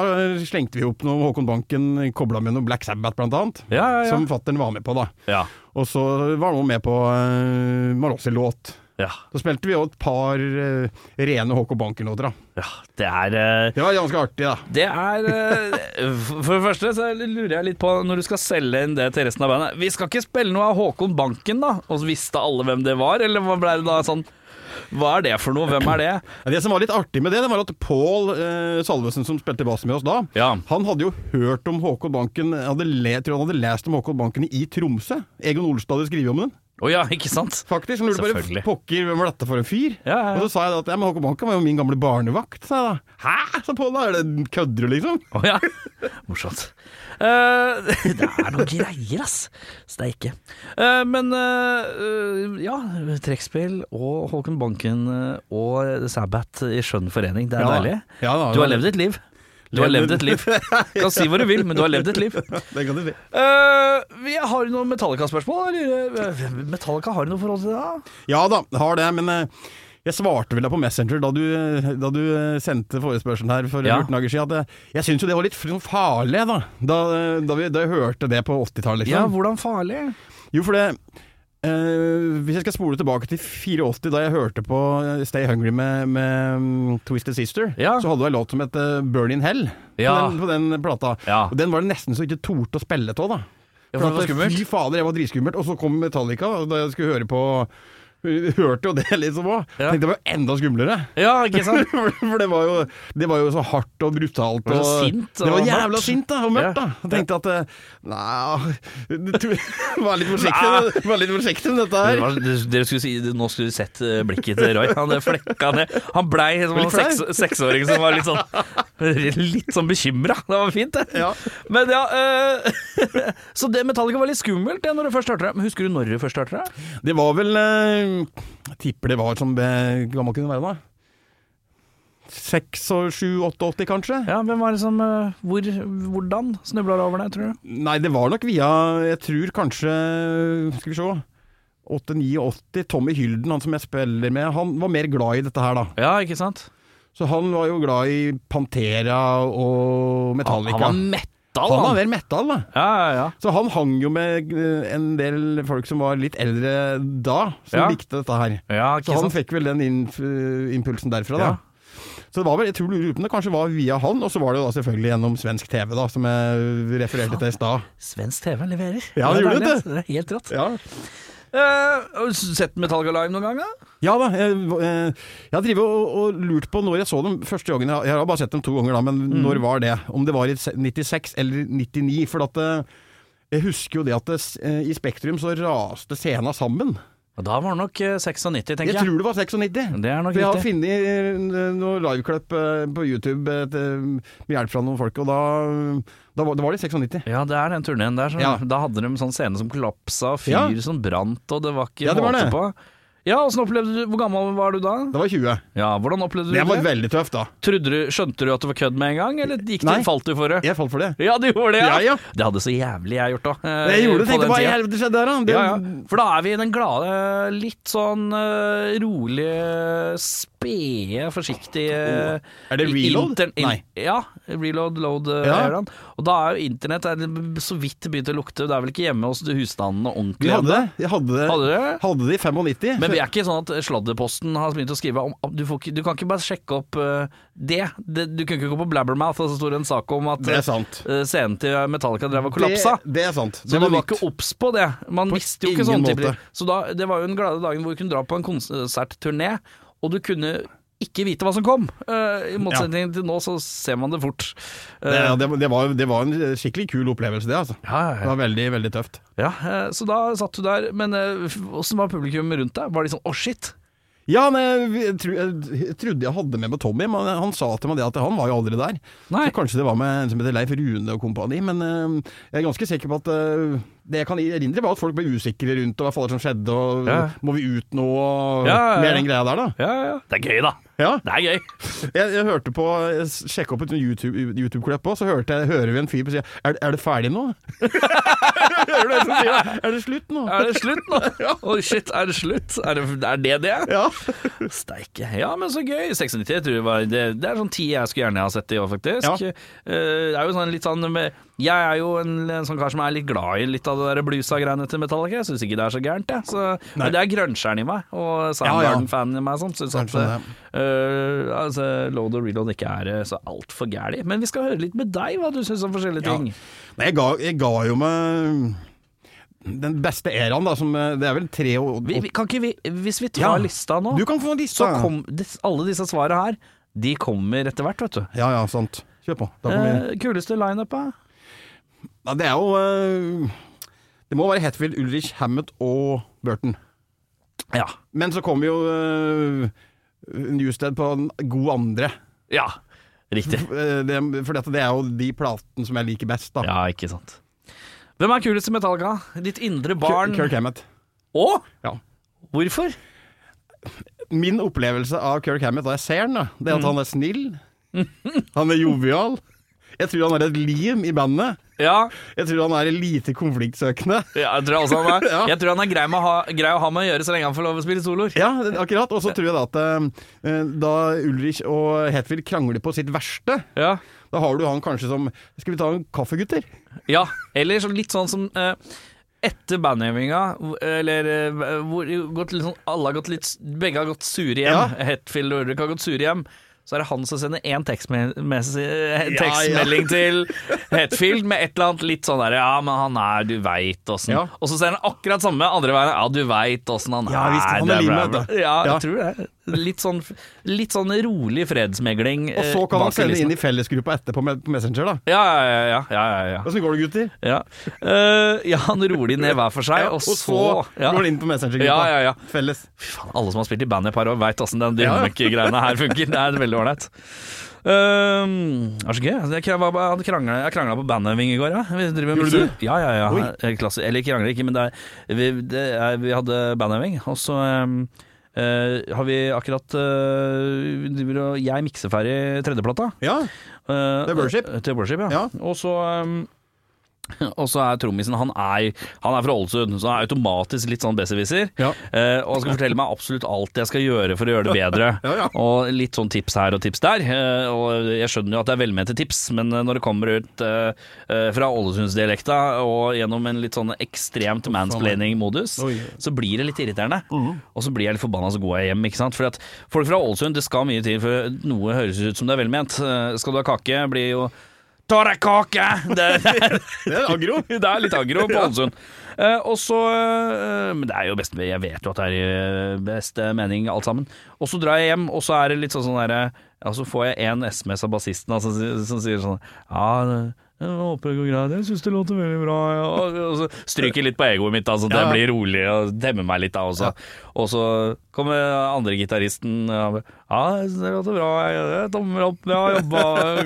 S3: slengte vi opp noe Håkon Banken kobla med noe Black Sabbath, blant annet.
S2: ja, ja, ja.
S3: Som fattern var med på, da.
S2: ja.
S3: Og så var han også med på uh, Malossi-låt.
S2: ja.
S3: Da spilte vi jo et par eh, rene Håkon Banken-låter, da.
S2: ja. Det er eh,
S3: Det var ganske artig, da.
S2: Det er eh, For det første så lurer jeg litt på, når du skal selge inn det til resten av bandet Vi skal ikke spille noe av Håkon Banken, da? Og så visste alle hvem det var? Eller hva ble det da sånn Hva er det for noe? Hvem er det?
S3: Ja, Det som var litt artig med det, det var at Pål eh, Salvesen, som spilte bass med oss da,
S2: Ja.
S3: han hadde jo hørt om Håkon Banken hadde le, tror han hadde lest om Håkon Banken i Tromsø. Egon Olstad hadde skrevet om den.
S2: Å ja, ikke sant?
S3: Faktisk, når du bare
S2: Selvfølgelig.
S3: pokker hvem var dette for en fyr?
S2: Ja, ja, ja.
S3: Og så sa jeg da at ja, men Håkon Banken var jo min gamle barnevakt, sa jeg da. Hæ, sa Pål da, er det kødder du liksom?
S2: Å ja. [LAUGHS] Morsomt. Eh, [LAUGHS] det er noen greier, ass. Så det er ikke. Eh, men eh, eh, ja, trekkspill og Håkon Banken eh, og Sabbat i skjønn forening, det er
S3: Ja da.
S2: deilig.
S3: Ja da,
S2: du har
S3: det-
S2: levd et liv. Du har levd et
S3: [LAUGHS]
S2: [LAUGHS] liv. Du kan si hva du vil, men du har levd et liv.
S3: Det kan du si.
S2: Eh, vi har du noen Metallica-spørsmål? eller? Eh, Metallica har du noe forhold til det? da?
S3: Ja da, har det, men eh, jeg svarte vel da på Messenger da du, da du eh, sendte forespørselen her for
S2: Ja.
S3: 14 dager siden, at eh, jeg syns jo det var litt fr- sånn farlig, da. Da, eh, da, vi, da jeg hørte det på 80-tallet,
S2: Ja,
S3: liksom.
S2: hvordan farlig?
S3: Jo, for det eh, Hvis jeg skal spole tilbake til 84, da jeg hørte på eh, Stay Hungry med, med mm, Twisted Sister,
S2: Ja.
S3: så hadde du en låt som het eh, Burn in Hell
S2: Ja.
S3: på, den, på den plata.
S2: Ja.
S3: Og den var det nesten så ikke torde å spille av, da.
S2: Ja, for det var
S3: at, eh,
S2: skummelt.
S3: Fy fader, jeg var dritskummelt. Og så kom Metallica, og da jeg skulle høre på [LAUGHS] Hørte jo det liksom òg.
S2: Ja.
S3: Tenkte det var jo enda skumlere.
S2: Ja, ikke sant?
S3: [LAUGHS] For det var, jo, det var jo så hardt og brutalt.
S2: Det var
S3: Og,
S2: så sint og
S3: det var
S2: mørkt.
S3: jævla sint da, og mørkt.
S2: Ja.
S3: da Jeg tenkte at eh, Nei [LAUGHS] du- [LAUGHS] Vær litt forsiktig, vær litt forsiktig med dette
S2: Dere
S3: her.
S2: var, dere- dere skulle si, nå skulle du sett eh, blikket til Roy. Han eh, flekka ned. Han blei som en sånn
S3: Litt flau.
S2: seks, seksåring som var litt sånn Litt sånn bekymra. Det var fint, det.
S3: Ja.
S2: Men ja eh, [LAUGHS] Så det Metallica var litt skummelt det, når du først hørte det. Men husker du når du først hørte det?
S3: Det var vel eh, Jeg tipper det var som det- Hvor gammel kunne det være da? Seks og sju, åtte, åtti kanskje?
S2: Ja, hvem var det som eh, hvor, Hvordan snubla du over det, tror du?
S3: Nei, det var nok via Jeg tror kanskje Skal vi se 8-89, Tommy Hylden, han som jeg spiller med, han var mer glad i dette her, da.
S2: Ja, ikke sant?
S3: Så han var jo glad i Pantera og Metallica.
S2: Han var metal,
S3: Han var
S2: han.
S3: mer metal, da.
S2: Ja, ja, ja.
S3: Så han hang jo med eh, en del folk som var litt eldre da, som
S2: Ja.
S3: likte dette her.
S2: ja
S3: Så
S2: ikke
S3: han
S2: sant?
S3: fikk vel den inf impulsen derfra, da.
S2: Ja.
S3: Så det var vel, jeg tror lurer på om det kanskje var via han, og så var det jo da selvfølgelig gjennom svensk TV, da, som jeg refererte til i stad.
S2: Svensk TV leverer.
S3: Ja, det gjorde
S2: deilig,
S3: det.
S2: ass. Det er helt rått.
S3: Ja.
S2: Eh, har du sett Metallica live noen gang, da?
S3: Ja da, jeg, eh, jeg har drivet og, og lurt på når jeg så dem første gangen. Jeg jeg har bare sett dem to ganger da, men
S2: Mm.
S3: når var det? Om det var i se- 96 eller 99? For at eh, jeg husker jo det at det, s- eh, i Spektrum så raste scena sammen.
S2: Og Da var det nok eh, 96, tenker
S3: Jeg tror det var 96.
S2: Det er nok
S3: For jeg har
S2: riktig.
S3: funnet eh, noen liveklipp eh, på YouTube eh, til- med hjelp fra noen folk, og da, da, var, da var det 96.
S2: Ja, det er den turneen der. Som,
S3: Ja.
S2: Da hadde de en sånn scene som kollapsa, fyr
S3: Ja.
S2: som brant, og det var ikke
S3: Ja, det var
S2: måte
S3: det.
S2: på. Ja, åssen opplevde du Hvor gammel var du da?
S3: Da var jeg 20.
S2: Ja, hvordan opplevde du
S3: Det var
S2: det?
S3: veldig tøft da.
S2: Trodde du, skjønte du at det var kødd med en gang, eller gikk du,
S3: Nei.
S2: falt du for det?
S3: Jeg falt for det.
S2: Ja, du gjorde det, ja.
S3: Ja, ja.
S2: Det hadde så jævlig jeg gjort da. eh,
S3: Jeg gjorde det,
S2: på
S3: tenkte
S2: den
S3: hva i
S2: tida.
S3: helvete skjedde der da? Det,
S2: Ja, ja. For da er vi i den glade, litt sånn eh, rolige, spede, forsiktige
S3: Er det reload?
S2: Nei.
S3: Nei.
S2: Ja, reload, load eh,
S3: Ja.
S2: eraen. Og da er jo internett er det så vidt begynt å lukte. Det er vel ikke hjemme hos husstandene ordentlig?
S3: Vi hadde
S2: ennå?
S3: det. Jeg hadde det.
S2: Hadde dere?
S3: Hadde det i 95.
S2: Men vi er ikke sånn at sladderposten har begynt å skrive om om- du, får, ikke- du kan ikke bare sjekke opp eh, det. det. Du kunne ikke gå på Blabbermouth, og så står det en sak om at
S3: Det er sant.
S2: eh, scenen til Metallica drev og kollapsa.
S3: Det, det er sant.
S2: Så
S3: Det
S2: du var
S3: nytt.
S2: ikke obs på det. Man
S3: På
S2: visste jo ikke
S3: ingen
S2: sånne typer
S3: måte.
S2: Så da, det var jo den glade dagen hvor du kunne dra på en konsertturné, og du kunne ikke vite hva som kom. Eh, I motsetning til nå, så ser man det fort. Eh,
S3: det, ja, det, det, var, det var en eh, skikkelig kul opplevelse, det. altså.
S2: ja, ja,
S3: Det
S2: ja.
S3: var veldig, veldig tøft.
S2: ja, eh, så da satt du der. Men eh, åssen var publikum rundt deg? Var de sånn 'å, shit'?
S3: Ja, nei, jeg, tro, jeg, jeg trodde jeg hadde med meg Tommy, men han sa til meg det at han var jo aldri der.
S2: Nei.
S3: Så kanskje det var med en som heter Leif Rune og kompani, men eh, jeg er ganske sikker på at eh, det jeg kan erindre, var at folk ble usikre rundt, og hva fader som skjedde, og
S2: Ja.
S3: må vi ut nå, og
S2: Ja, ja, ja.
S3: mer den greia der, da.
S2: Ja, ja. Det er gøy, da.
S3: Ja.
S2: Det er gøy.
S3: Jeg, jeg hørte på Jeg sjekka opp et sånt YouTube- YouTube-klipp òg, så hørte jeg, hører vi en fyr på sida er, er det ferdig nå? hører du en som sier Er det slutt nå?
S2: [LAUGHS] Er det slutt nå?
S3: [LAUGHS]
S2: Å, shit, er det slutt? Er det er det? det?
S3: Ja.
S2: Steike. Ja, men så gøy. 96 jeg tror jeg var det, det er sånn ti jeg skulle gjerne ha sett i år, faktisk.
S3: Ja.
S2: Eh, det er jo sånn litt sånn med, Jeg er jo en, en sånn kar som er litt glad i litt av det der bluesa-greiene til Metallica. Jeg syns ikke det er så gærent, jeg. Så, men det er grønsjeren i meg, og Soundgarden-fanen i meg som syns at
S3: Kanskje det.
S2: eh, altså, load og reload ikke er eh, så altfor gæli. Men vi skal høre litt med deg, hva du syns om forskjellige ting.
S3: Nei, jeg ga, jeg ga jo meg den beste eraen, da, som eh, Det er vel tre og, og
S2: Vi, vi, kan ikke vi, hvis vi
S3: Ja.
S2: tar lista nå,
S3: Du kan få en liste.
S2: så kom, dis- alle disse svara her, de kommer etter hvert, vet du.
S3: Ja ja, sant. Kjør på. Da kommer vi.
S2: Eh, kuleste lineupa?
S3: Ja, det er jo eh, Det må være Hetfield, Ulrich, Hammett og Burton.
S2: Ja.
S3: Men så kommer jo øh, Newsted på en god andre.
S2: ja. Riktig.
S3: Eh, Det, for dette, det er jo de platene som jeg liker best. da
S2: Ja, ikke sant. Hvem er kulest i Metallica? Ditt indre barn
S3: Kirk Hammett.
S2: Å?
S3: Ja.
S2: Hvorfor?
S3: Min opplevelse av Kirk Hammett da jeg ser den, da,
S2: Mm.
S3: det er at han er snill. Han er jovial. Jeg tror han er et lim i bandet.
S2: Ja,
S3: Jeg tror han er lite konfliktsøkende. [LAUGHS]
S2: ja jeg tror også han er,
S3: Ja.
S2: jeg tror han er grei, med å ha, grei å ha med å gjøre så lenge han får lov å spille soloer.
S3: Ja, det- akkurat. Og så tror jeg da at eh, da Ulrich og Hetfield krangler på sitt verste,
S2: Ja.
S3: da har du han kanskje som Skal vi ta en kaffe, gutter?
S2: ja. Eller så litt sånn som eh, etter bandøvinga, hvor- eller eh, hvor gått litt sånn, alle har gått litt Begge har gått sure hjem.
S3: Ja.
S2: Hetfield og Ulrik har gått sure hjem. Så er det han som sender én tekstmelding
S3: ja.
S2: til Hetfield med et eller annet litt sånn der Ja, men han er Du veit åssen.
S3: Ja.
S2: Og så ser han akkurat samme andre veien. Ja, du veit åssen han
S3: Ja, visst, han er
S2: det bra,
S3: limet,
S2: bra.
S3: da.
S2: Ja,
S3: Ja.
S2: jeg tror det. Litt sånn, litt sånn rolig fredsmegling. eh,
S3: Og så kan han sende inn i fellesgruppa etterpå med, på Messenger, da.
S2: ja, ja, ja, ja, ja, ja, ja.
S3: Åssen går det, gutter?
S2: Ja. Eh, ja, han rolig ned hver for seg,
S3: Ja,
S2: og så, ja.
S3: går han inn på Messenger-gruppa.
S2: Ja, ja, ja.
S3: Felles.
S2: Fy faen, alle som har spilt i band i et par år, veit åssen den
S3: Ja, ja.
S2: dynamikk-greiene her funker. Det er veldig ålreit. Ehm, det er så gøy. Jeg kra- jeg hadde kranglet- jeg krangla på bandøving i går, ja. Vi driver med
S3: Gjorde du?
S2: musikk. Ja, ja, ja. Eh, klasse- Eller krangler ikke, men det er, vi, det er, vi hadde bandøving, og så ehm, eh, har vi akkurat eh, vi driver og- Jeg mikser ferdig tredjeplata.
S3: Ja.
S2: Eh,
S3: Til Worship?
S2: Til Worship, ja.
S3: Ja.
S2: Og så um, og så er trommisen han er, han er fra Ålesund, så han er automatisk litt sånn besserwisser.
S3: Ja.
S2: Eh, og han skal fortelle meg absolutt alt jeg skal gjøre for å gjøre det bedre.
S3: [LAUGHS] Ja, ja.
S2: Og litt sånn tips her og tips der. Eh, og jeg skjønner jo at det er velmente tips, men eh, når det kommer ut eh, eh, fra Ålesundsdialekta og gjennom en litt sånn ekstremt mansplaining-modus,
S3: Oi. Mhm.
S2: så blir det litt irriterende. Og så blir jeg litt forbanna, så går jeg hjem, ikke sant. For at folk fra Ålesund, det skal mye til for noe høres ut som det er velment. Eh, skal du ha kake, blir jo Ta deg kake! Det, det,
S3: [LAUGHS] Det er aggro.
S2: [LAUGHS] det er litt aggro på Ålesund. Eh, og så eh, Men det er jo best Jeg vet jo at det er i beste mening, alt sammen. Og så drar jeg hjem, og så er det litt sånn sånn derre Ja, så får jeg en SMS av bassisten altså, som, som sier sånn Ja, det- jeg håper det går greit. Jeg syns det låter veldig bra. Ja. Og, og så stryker jeg litt på egoet mitt, da, så det
S3: Ja.
S2: blir rolig og demmer meg litt da også. Og så kommer andre gitaristen Ja, jeg synes det låter bra. Jeg, jeg, tommer opp, bra jobba. [LAUGHS]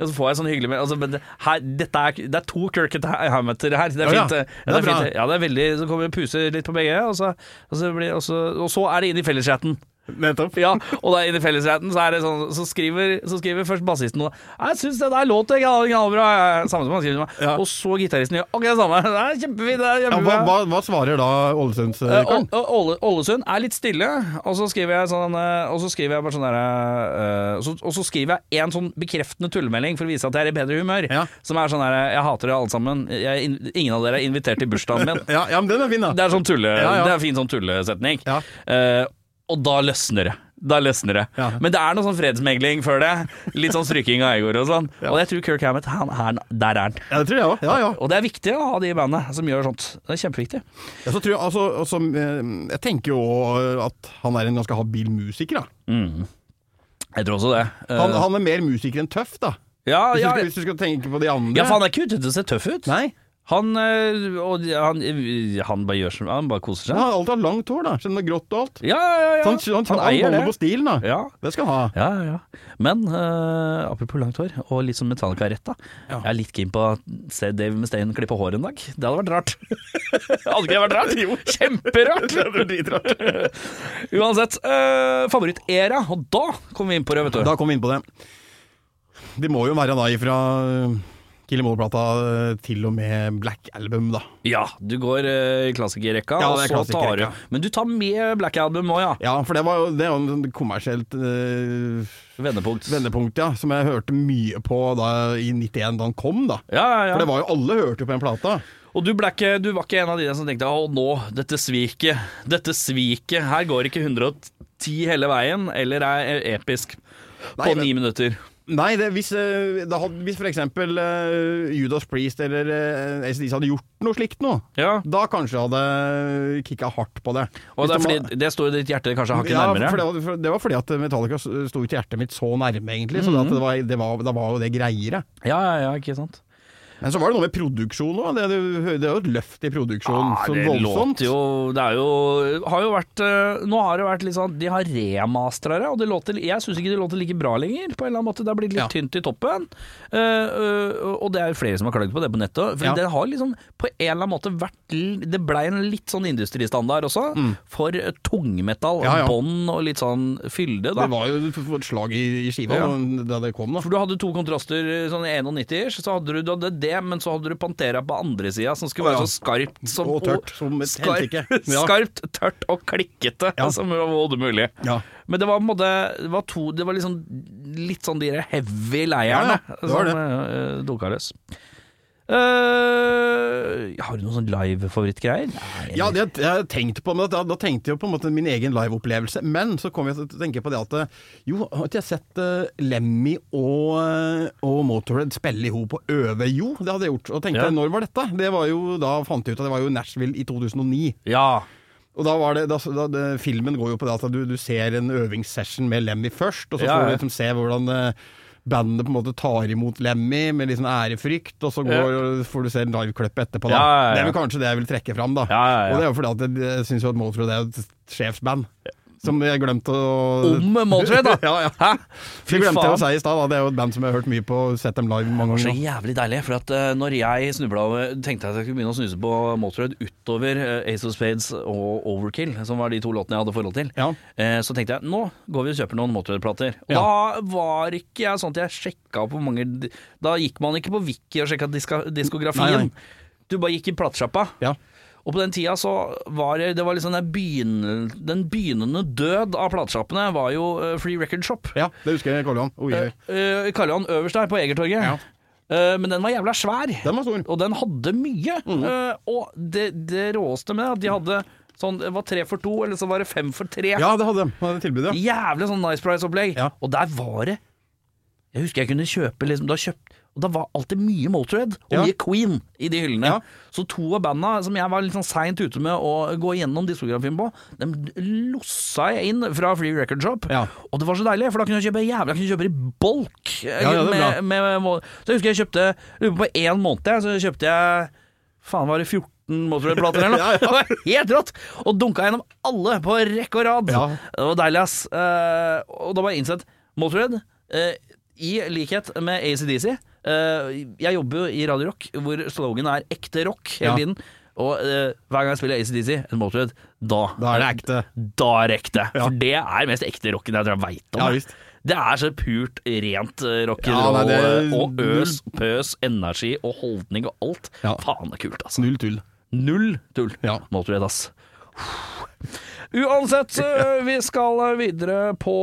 S2: og så får jeg sånn hyggelig med altså, men det, her, dette er, det er to Kirket Hammeter her. Det er
S3: Ja, ja.
S2: fint. det. Ja, det
S3: Ja,
S2: er
S3: det er
S2: fint. det. Ja, det er veldig Så kommer det puser litt på begge, og så, og så, blir, og så, og så er det inn i felleschatten.
S3: Nettopp.
S2: Ja, og da inn i fellesretten så, er det sånn, så, skriver, så skriver først bassisten noe 'Jeg syns det der låter knall- knallbra', jeg», samme som han skriver til meg.
S3: Ja.
S2: Og så gitaristen gjør akkurat det samme. Det er kjempefint. Det er
S3: Ja, hva,
S2: kjempebra.
S3: hva, hva svarer da
S2: Eh,
S3: Ålesundskaren?
S2: Å- Å- Åle- Ålesund er litt stille, og så skriver jeg sånn eh, Og så skriver jeg bare sånn derre Og så skriver jeg en sånn bekreftende tullemelding for å vise at jeg er i bedre humør.
S3: Ja.
S2: Som er sånn derre Jeg hater dere alle sammen. Jeg, in- ingen av dere er invitert til bursdagen
S3: [LAUGHS]
S2: min.
S3: Ja, ja, men den er fin, da.
S2: Det er sånn tulle,
S3: Ja, ja.
S2: Det er en fin sånn tullesetning.
S3: Ja.
S2: Eh, og da løsner det. Da løsner det.
S3: Ja.
S2: Men det er noe sånn fredsmegling før det. Litt sånn stryking av egoer og sånn.
S3: [LAUGHS]
S2: Og jeg tror Kirk Hammett, han, han, der er han.
S3: Ja, det tror jeg òg. Ja, ja.
S2: Og det er viktig å ha de i bandet som gjør sånt. Det er kjempeviktig.
S3: Ja, så tror jeg, altså, altså, eh, jeg tenker jo eh, at han er en ganske habil musiker. Da.
S2: Jeg tror også det. Eh,
S3: Han, han er mer musiker enn tøff, da.
S2: ja,
S3: Hvis du,
S2: ja,
S3: skal- hvis du skal tenke på de andre.
S2: ja, for han er ikke ute til å se tøff ut.
S3: Nei.
S2: Han, eh, og han, eh, han bare gjør som Han bare koser seg.
S3: Men Han har alltid hatt langt hår, da. Selv om det er grått og alt.
S2: Ja, ja, ja.
S3: Så han, han, han,
S2: eier
S3: holder
S2: det.
S3: på stilen, da.
S2: Ja.
S3: Det skal han ha.
S2: Ja, ja, ja. Men eh, apropos langt hår, og litt som Metallica-rett, da. Jeg er litt keen på å se Dave Mustaine klippe håret en dag. Det hadde vært rart. hadde ikke det vært rart? Jo. Kjemperart! det hadde dritrart. [LAUGHS] Uansett, uh, favorittera, og da kommer vi inn på det, vet du.
S3: Da kom vi inn på det. Det må jo være da ifra eh, Killemore-plata eh, til og med Black Album, da.
S2: Ja, du går eh, i klassikerrekka,
S3: Ja,
S2: og
S3: det er
S2: så tar du
S3: klassikerrekka.
S2: Men du tar med Black Album òg, ja.
S3: Ja, for det, var jo, det er jo en kommersielt eh,
S2: Vendepunkt.
S3: vendepunkt, ja. Som jeg hørte mye på da i 91, da han kom, da.
S2: Ja, ja,
S3: For det
S2: ja.
S3: var jo alle hørte jo på den plata.
S2: Og du, ble ikke, du var ikke en av de der som tenkte å nå, dette sviket, dette sviket, her går ikke 110 hele veien, eller er episk på
S3: Nei, men-
S2: ni minutter.
S3: Nei, det, hvis, eh, da hadde, hvis for eksempel eh, Judas Priest eller uh, ACDC hadde gjort noe slikt nå,
S2: Ja,
S3: da kanskje hadde kicka hardt på det.
S2: og det, er
S3: Hvis de-
S2: fordi, det står i ditt hjerte kanskje hakket
S3: ja,
S2: nærmere.
S3: for det, var, for det var fordi at Metallica eh, sto
S2: Mhm.
S3: ikke hjertet mitt så nærme, egentlig. Så det at det var, det var, da var jo det greiere.
S2: Ja, ja, ja, ikke sant.
S3: Men så var det noe med produksjon òg. Det, det, det er jo et løft i produksjonen.
S2: Ja,
S3: sånn
S2: det
S3: voldsomt.
S2: låter jo Det er jo Har jo vært eh, Nå har det vært litt sånn De har remastera det, og det låter Jeg syns ikke det låter like bra lenger, på en eller annen måte. Det har blitt litt
S3: Ja.
S2: tynt i toppen. Eh, eh, og det er jo flere som har klagd på det på nettet. For
S3: Ja.
S2: det har liksom på en eller annen måte vært l- Det blei en litt sånn industristandard også, for eh, tungmetall,
S3: Mm. Ja, ja.
S2: bånd og litt sånn fylde, da.
S3: Det var jo f- f- et slag i, i skiva
S2: Ja.
S3: da- da det kom, da.
S2: For du hadde to kontraster, sånn 91-ers, så hadde du, du hadde det, men så hadde du Pantera på andre sida, som skulle
S3: Å,
S2: være
S3: ja.
S2: så skarpt som,
S3: Og tørt, som et
S2: skarpt,
S3: helsike. Ja.
S2: [LAUGHS] skarpt, tørt og klikkete
S3: Ja.
S2: som overhodet mulig.
S3: Ja.
S2: Men det var på en måte Det var, to, det var liksom litt sånn de der heavy
S3: Ja, ja,
S2: leierne
S3: det var det.
S2: som eh, dunka løs. Eh, har du noen sånn live-favorittgreier?
S3: Ja, det jeg har jeg tenkt på, men da, da tenkte jeg jo på en måte min egen liveopplevelse. Men så kom jeg til å tenke på det at eh, jo, har ikke jeg sett eh, Lemmy og, eh, og Motorhead spille i hop og øve? Jo, det hadde jeg gjort. Og tenkte
S2: Ja.
S3: jeg, når var dette? Det var jo, da fant jeg ut at det var jo Nashville i 2009.
S2: Ja.
S3: Og da var det, da, da, det- Filmen går jo på det at du, du ser en øvingssession med Lemmy først, og så
S2: Ja,
S3: får du
S2: ja.
S3: liksom se hvordan eh, bandet på en måte tar imot Lemmy med litt sånn ærefrykt, og så går, får du se en liveklipp etterpå. Da.
S2: Ja, ja, ja.
S3: Det er vel kanskje det jeg vil trekke fram. da.
S2: Ja, ja, ja.
S3: Og det er jo fordi at jeg- jeg syns jo at Motorhead er et sjefsband, som jeg glemte å
S2: Om Motorhead, da!
S3: [LAUGHS] ja, ja.
S2: Hæ?
S3: Det glemte jeg å si i stad, da. det er jo et band som jeg har hørt mye på, sett dem live mange
S2: Det var
S3: ganger.
S2: så jævlig deilig, for at eh, når jeg snubla over Tenkte jeg at jeg skulle begynne å snuse på Motorhead utover eh, Ace of Spades og Overkill, som var de to låtene jeg hadde forhold til.
S3: Ja.
S2: Eh, så tenkte jeg nå går vi og kjøper noen Motorhead-plater. Og Da var ikke jeg sånn at jeg sjekka på mange Da gikk man ikke på Wiki og sjekka diska, diskografien.
S3: Nei, nei.
S2: Du bare gikk i platesjappa.
S3: Ja.
S2: Og på den tida så var det, det var liksom den, begynne- den begynnende død av platesjappene var jo eh, Free Record Shop.
S3: ja, det husker jeg, Karl Johan. Oi, oi.
S2: Uh, Karl Johan øverst der, på Egertorget.
S3: Ja.
S2: Eh, men den var jævla svær,
S3: Den var stor. Mhm.
S2: og den hadde mye. Eh, og det, det råeste med det, at de hadde sånn Det var tre for to, eller så var det fem for tre.
S3: Ja, det hadde de. Det hadde tilbudet, ja.
S2: Jævlig sånn Nice Price-opplegg.
S3: Ja.
S2: Og der var det Jeg husker jeg kunne kjøpe liksom, da kjøpt, Og da var alltid mye Motorhead og
S3: Ja.
S2: mye Queen i de hyllene.
S3: Ja.
S2: Så to av banda som jeg var litt sånn seint ute med å gå gjennom diskografien på, dem lossa jeg inn fra Free Record Shop.
S3: Ja.
S2: Og det var så deilig, for da kunne jeg kjøpe jævla jeg kunne kjøpe i bolk.
S3: ja, det er
S2: med,
S3: bra.
S2: med, med, så jeg husker jeg kjøpte lurer på, på én måned, jeg, så kjøpte jeg Faen, var det 14 Motorhead-plater
S3: [LAUGHS]
S2: eller noe? [LAUGHS] Det var helt rått! Og dunka gjennom alle på rekke og rad.
S3: Ja.
S2: Det var deilig, ass. Eh, og da var jeg innsett Motorhead, eh, i likhet med ACDC eh, Jeg jobber jo i Radio Rock, hvor slogan er 'ekte rock' hele
S3: Ja.
S2: tiden. Og eh, hver gang jeg spiller ACDC, en Motorhead, da
S3: Da er det ekte.
S2: Da er det ekte. For det er mest ekte rocken jeg tror jeg veit om.
S3: Ja,
S2: jeg.
S3: visst.
S2: det er så purt rent eh,
S3: Ja, nei,
S2: rock'n'roll
S3: det-
S2: og øs, pøs, energi og holdning og alt.
S3: Ja.
S2: Faen, det er kult, altså.
S3: Null tull.
S2: Null tull.
S3: Ja.
S2: Motorhead, ass.
S3: [LAUGHS]
S2: Uansett, eh, vi skal videre på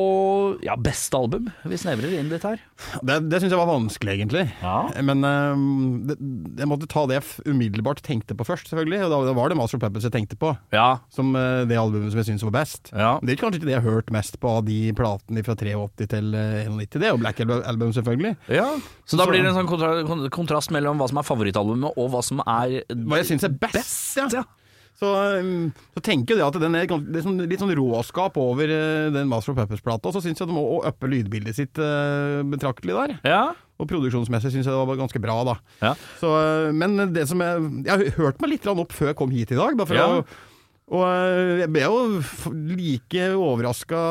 S2: ja, beste album. Vi snevrer inn litt her.
S3: Det, det syns jeg var vanskelig, egentlig.
S2: Ja.
S3: Men ehm, det, jeg måtte ta det jeg f- umiddelbart tenkte på først, selvfølgelig. Og da, da var det Master of Puppets jeg tenkte på,
S2: Ja.
S3: som eh, det albumet som jeg syns var best.
S2: Ja.
S3: Det er kanskje ikke det jeg har hørt mest på av de platene fra 83 til eh, 91. Det er jo Black Album- Album, selvfølgelig.
S2: Så da blir det en sånn kontra kon- kontrast mellom hva som er favorittalbumet og hva som er
S3: Hva jeg syns er best, ja.
S2: ja.
S3: Så, ehm, så tenker jeg det at den er, gans- det er sånn, litt sånn råskap over eh, den Master of Puppets-plata, og så syns jeg de må uppe lydbildet sitt eh, betraktelig der.
S2: Ja.
S3: Og produksjonsmessig syns jeg det var ganske bra, da.
S2: Ja.
S3: Så, øh, men det som jeg Jeg hørte meg litt grann opp før jeg kom hit i dag. Da, for
S2: Ja.
S3: å- og øh, jeg ble jo f- like overraska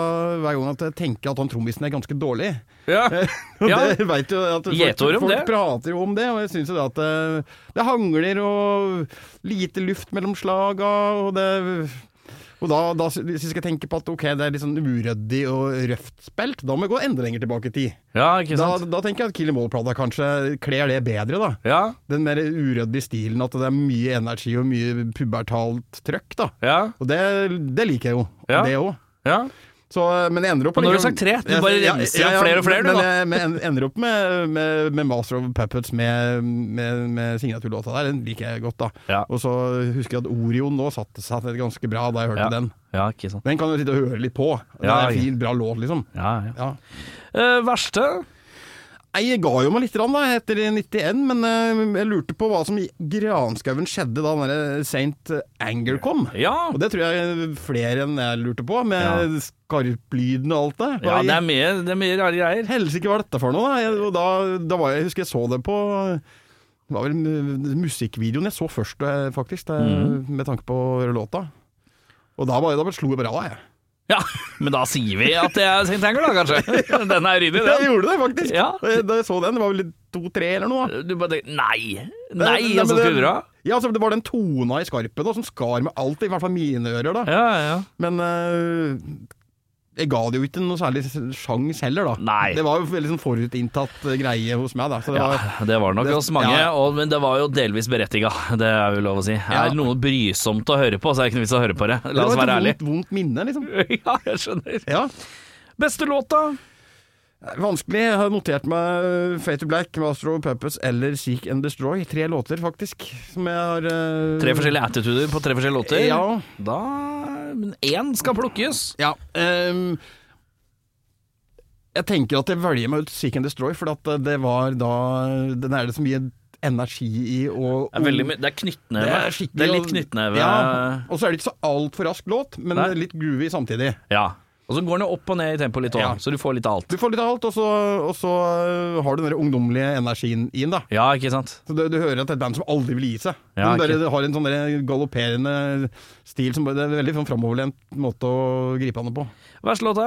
S3: hver gang at jeg tenker at han trommisen er ganske dårlig.
S2: [LAUGHS] ja.
S3: Og
S2: Ja.
S3: det vet jo at
S2: Gjeter
S3: folk,
S2: om
S3: folk
S2: det.
S3: prater jo om det, og jeg syns jo det at øh, det hangler og lite luft mellom slaga, og det og da, da sy- hvis jeg skal tenke på at ok, det er litt sånn uryddig og røft spilt, da må jeg gå enda lenger tilbake i tid.
S2: ja, ikke
S3: Da,
S2: sant?
S3: da tenker jeg at Killing Wall-plata kanskje kler det bedre, da
S2: Ja.
S3: den mer uryddige stilen, at det er mye energi og mye pubertalt trøkk, da.
S2: Ja.
S3: Og det, det liker jeg jo.
S2: Ja.
S3: Det òg.
S2: ja.
S3: Så, eh, men jeg ender opp
S2: Men nå har du
S3: likevel-
S2: sagt tre. Du
S3: Jeg-
S2: bare
S3: ja,
S2: renser
S3: ja, ja,
S2: flere og flere, du,
S3: Men, eh,
S2: da.
S3: men jeg men jeg ender opp med, med, med Master of Puppets med, med, med signaturlåta der. Den liker jeg godt, da.
S2: Ja.
S3: Og så husker jeg at Orion nå satte seg ganske bra da jeg hørte
S2: Ja.
S3: den.
S2: ja, ikke sant.
S3: Den kan du sitte og høre litt på. Det
S2: Ja,
S3: er
S2: ja.
S3: en fin, bra låt, liksom.
S2: Ja, ja.
S3: Ja.
S2: Eh, verste?
S3: Nei, Jeg ga jo meg litt rann, da, etter 91, men eh, jeg lurte på hva som i granskauen skjedde da den der Saint eh, Anger kom.
S2: Ja.
S3: Og det tror jeg eh, flere enn jeg lurte på, med
S2: Ja.
S3: skarplyden og alt det.
S2: ja,
S3: Hva i
S2: det er mye, det er mye rare greier.
S3: Helsike var dette for noe, da? Jeg, og da, da var jeg, jeg husker jeg så det på Det var vel mu- musikkvideoen jeg så først, eh, faktisk, det,
S2: Mm.
S3: med tanke på å gjøre låta. Og da, bare, da bare slo jeg bare av, jeg.
S2: Ja, men da sier vi at det er St. Anger, da, kanskje.
S3: [LAUGHS]
S2: Den er ryddig,
S3: Jeg
S2: den.
S3: gjorde det, faktisk!
S2: Ja.
S3: Da jeg- Da jeg så den, det var vel to-tre eller noe. da.
S2: Du bare tenker Nei! Nei,
S3: Eh, Nei,
S2: og så
S3: men det-
S2: skulle du dra?
S3: Ja, altså, Det var den tona i skarpen da, som skar med alt, i hvert fall mine ører. da.
S2: Ja, ja.
S3: Men øh, jeg ga det jo ikke noe særlig sjans heller, da.
S2: Nei.
S3: Det var jo veldig sånn forutinntatt øh, greie hos meg, da. Så det
S2: Ja,
S3: var,
S2: Ah, det var nok
S3: Det-
S2: hos mange,
S3: ja.
S2: og, men det var jo delvis berettiga. Det er jo lov å si.
S3: Ja.
S2: Er det noe brysomt å høre på, så er det ikke noe vits å høre på det. La oss
S3: det var
S2: være
S3: et
S2: ærlige.
S3: vondt, vondt minne, liksom.
S2: [LAUGHS] Ja, jeg skjønner.
S3: Ja.
S2: Beste låta?
S3: Vanskelig. Jeg har notert meg øh, Fate to Black, Master of Puppets eller Seek and Destroy. Tre låter, faktisk, som jeg har øh,
S2: Tre forskjellige attituder på tre forskjellige låter.
S3: Ja.
S2: Da Men én skal plukkes.
S3: ja øhm, jeg tenker at jeg velger meg ut Seek and Destroy, for at øh, det var da Den er det så mye energi i, og
S2: Det er, veldig, mye- det er knyttneve. Det er,
S3: skikkelig-
S2: litt knyttneve.
S3: Ja,
S2: Ja.
S3: og så er det ikke så altfor rask låt, men
S2: Nei.
S3: litt groovy samtidig.
S2: Og så går den jo opp og ned i tempo litt òg,
S3: Ja.
S2: så du får litt av alt.
S3: Du får litt av alt, og så, og så øh, har du den der ungdommelige energien i den. da.
S2: Ja, ikke sant?
S3: Så du, du hører at det er et band som aldri vil gi seg.
S2: Ja,
S3: den bare
S2: ikke-
S3: har en sånn der galopperende stil som bare, det er en veldig sånn framoverlent måte å gripe an det på.
S2: Verste låta?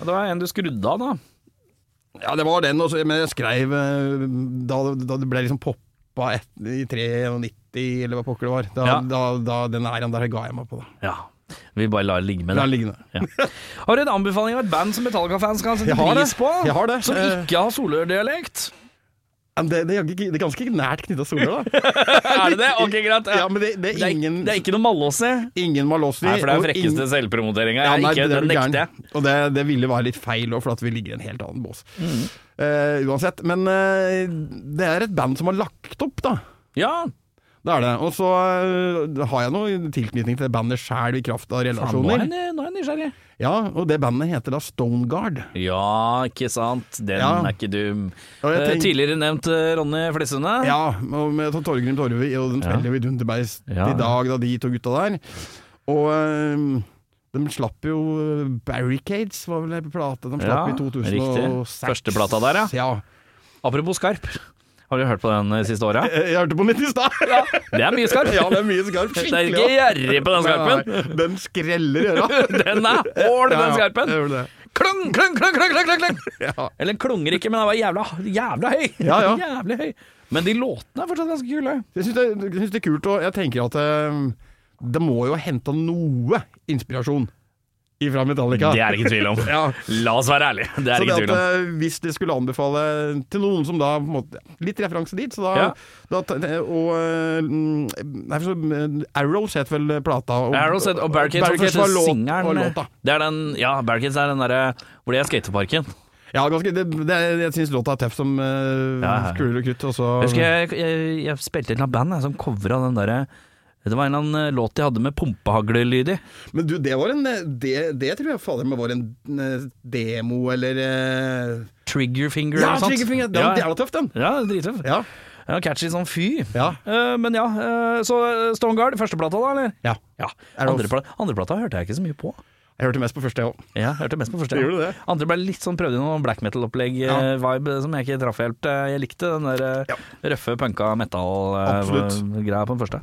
S2: Ja, Det var en du skrudde av, da.
S3: Ja, det var den, og så- men jeg skrev øh, da, da det ble liksom poppa et, i 93, eller hva pokker det var. Da,
S2: Ja.
S3: da, da, den æren der ga jeg meg på, da.
S2: Ja. Vi bare lar det ligge med
S3: La
S2: det.
S3: den liggende.
S2: Har du en anbefaling av et band som Metallica-fans kan sette
S3: Jeg har
S2: pris
S3: det.
S2: på?
S3: Jeg har det.
S2: Som
S3: Eh.
S2: ikke har
S3: [LAUGHS]
S2: solørdialekt?
S3: Men Det, det, er jaggu ikke- det er ganske nært knytta soler, da.
S2: [LAUGHS] Er det det? Ok, greit.
S3: Ja, men det, det
S2: det,
S3: er
S2: er,
S3: ingen,
S2: det er ikke noe Malåsi.
S3: ingen Malossi.
S2: Nei, for det er
S3: og
S2: frekkeste
S3: ingen-
S2: selvpromoteringa.
S3: Ja, nei,
S2: ikke,
S3: det
S2: den
S3: blir
S2: nekter
S3: gæren.
S2: jeg.
S3: Og det, det ville være litt feil òg, for at vi ligger i en helt annen bås.
S2: Mm.
S3: Eh, uansett. Men eh, det er et band som har lagt opp, da.
S2: Ja,
S3: Det er det. Og så eh, har jeg noe tilknytning til det bandet sjæl i kraft av
S2: faen, nå er
S3: relasjoner.
S2: jeg- nå er jeg nysgjerrig.
S3: Ja, og det bandet heter da Stoneguard.
S2: Ja, ikke sant. Den
S3: Ja.
S2: er ikke dum.
S3: Og jeg
S2: Eh,
S3: tenk-
S2: Tidligere nevnt eh, Ronny Flissene.
S3: Ja, og med Tor- Torgrim Torve, og de spiller jo i Dunderbeist
S2: Ja.
S3: i dag, da de to gutta der. Og øhm, de slapp jo øh, Barricades, var vel en plate de
S2: Ja,
S3: slapp i 2006.
S2: riktig. Første plata der, ja.
S3: ja.
S2: Apropos skarp. Har du hørt på den de siste
S3: [LAUGHS]
S2: åra?
S3: Jeg, Eh, jeg hørte på den litt i stad. [LAUGHS] Ja.
S2: Det er mye skarp.
S3: det er mye skarp.
S2: det er ikke gjerrig på den skarpen.
S3: Den skreller i øra.
S2: [LAUGHS] Den er hård,
S3: Ja,
S2: den
S3: ja, Eh,
S2: skarpen.
S3: det gjør det.
S2: Klung, klung, klung, klung, klung, klung, [LAUGHS] klung.
S3: Ja.
S2: Eller den klunger ikke, men den var jævla, jævla høy.
S3: Ja,
S2: [LAUGHS]
S3: ja.
S2: jævlig høy. Men de låtene er fortsatt ganske kule.
S3: Jeg syns det, jeg synes det er kult, og jeg tenker at øhm, det må jo ha henta noe inspirasjon ifra Metallica.
S2: Det er det ikke tvil [LAUGHS] om.
S3: Ja.
S2: La oss være ærlige. Det er
S3: Så
S2: det ikke
S3: det
S2: tvil om.
S3: at eh, hvis det skulle anbefale til noen som da på en måte, Litt referanse dit, så da,
S2: Ja.
S3: da ta- Og eh, mm, nei, for så, eh, Arrows het vel plata. Og,
S2: Arrows og Barricades var
S3: eh, Barricades
S2: første eh.
S3: låt-
S2: singelen.
S3: var låta.
S2: Det er den, ja, Barricades er den derre hvor de er i skateparken.
S3: Ja, ganske, det, det, er- jeg syns låta er tøff som eh,
S2: Ja, ja.
S3: kuler og krutt. Og så,
S2: Jeg husker jeg, jeg, jeg spilte et eller annet band jeg, som covra den derre det var en eller annen eh, låt de hadde med pumpehaglelyd i.
S3: Men du, det var en eh, Det, det tror jeg fader meg var en eh, demo, eller eh,
S2: Triggerfinger
S3: Ja,
S2: eller noe sånt.
S3: Triggerfinger! Den
S2: ja,
S3: jævla tøff, den!
S2: ja, drittøff.
S3: Ja.
S2: Ja, catchy som fy.
S3: Ja.
S2: Eh, men ja, eh, så eh, Stoneguard, førsteplata da, eller?
S3: ja.
S2: Ja.
S3: Er det
S2: Andreplata andre hørte jeg ikke så mye på.
S3: Jeg hørte mest på første, jeg òg.
S2: Ja, jeg hørte mest på første.
S3: Gjorde du det?
S2: Andre ble litt sånn prøvd i noen black
S3: Ja.
S2: metal-opplegg-vibe som jeg ikke traff helt. Eh, Jeg likte den der eh, røffe punka
S3: Absolutt.
S2: metal-greia på den første.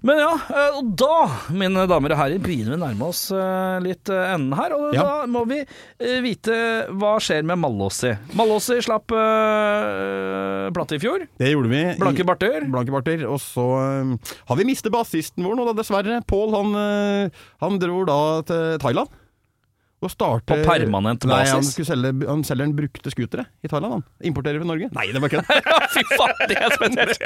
S2: Men ja, eh, og da, mine damer og herrer, begynner vi å nærme oss eh, litt eh, enden her. Og
S3: Ja.
S2: da må vi eh, vite hva skjer med Mallåsi. Mallåsi slapp eh, plate i fjor.
S3: Det gjorde vi. i-
S2: Blanke barter.
S3: Blanke barter. Og så øhm, har vi mistet bassisten vår nå, da, dessverre. Pål han, øh, han dro da til Thailand. Og starter
S2: På permanent
S3: Nei, han,
S2: basis?
S3: skulle selge, han selger en brukte scootere i Thailand. Han. Importerer fra Norge. Nei, det var ikke det.
S2: Fy faen, det er spesielt!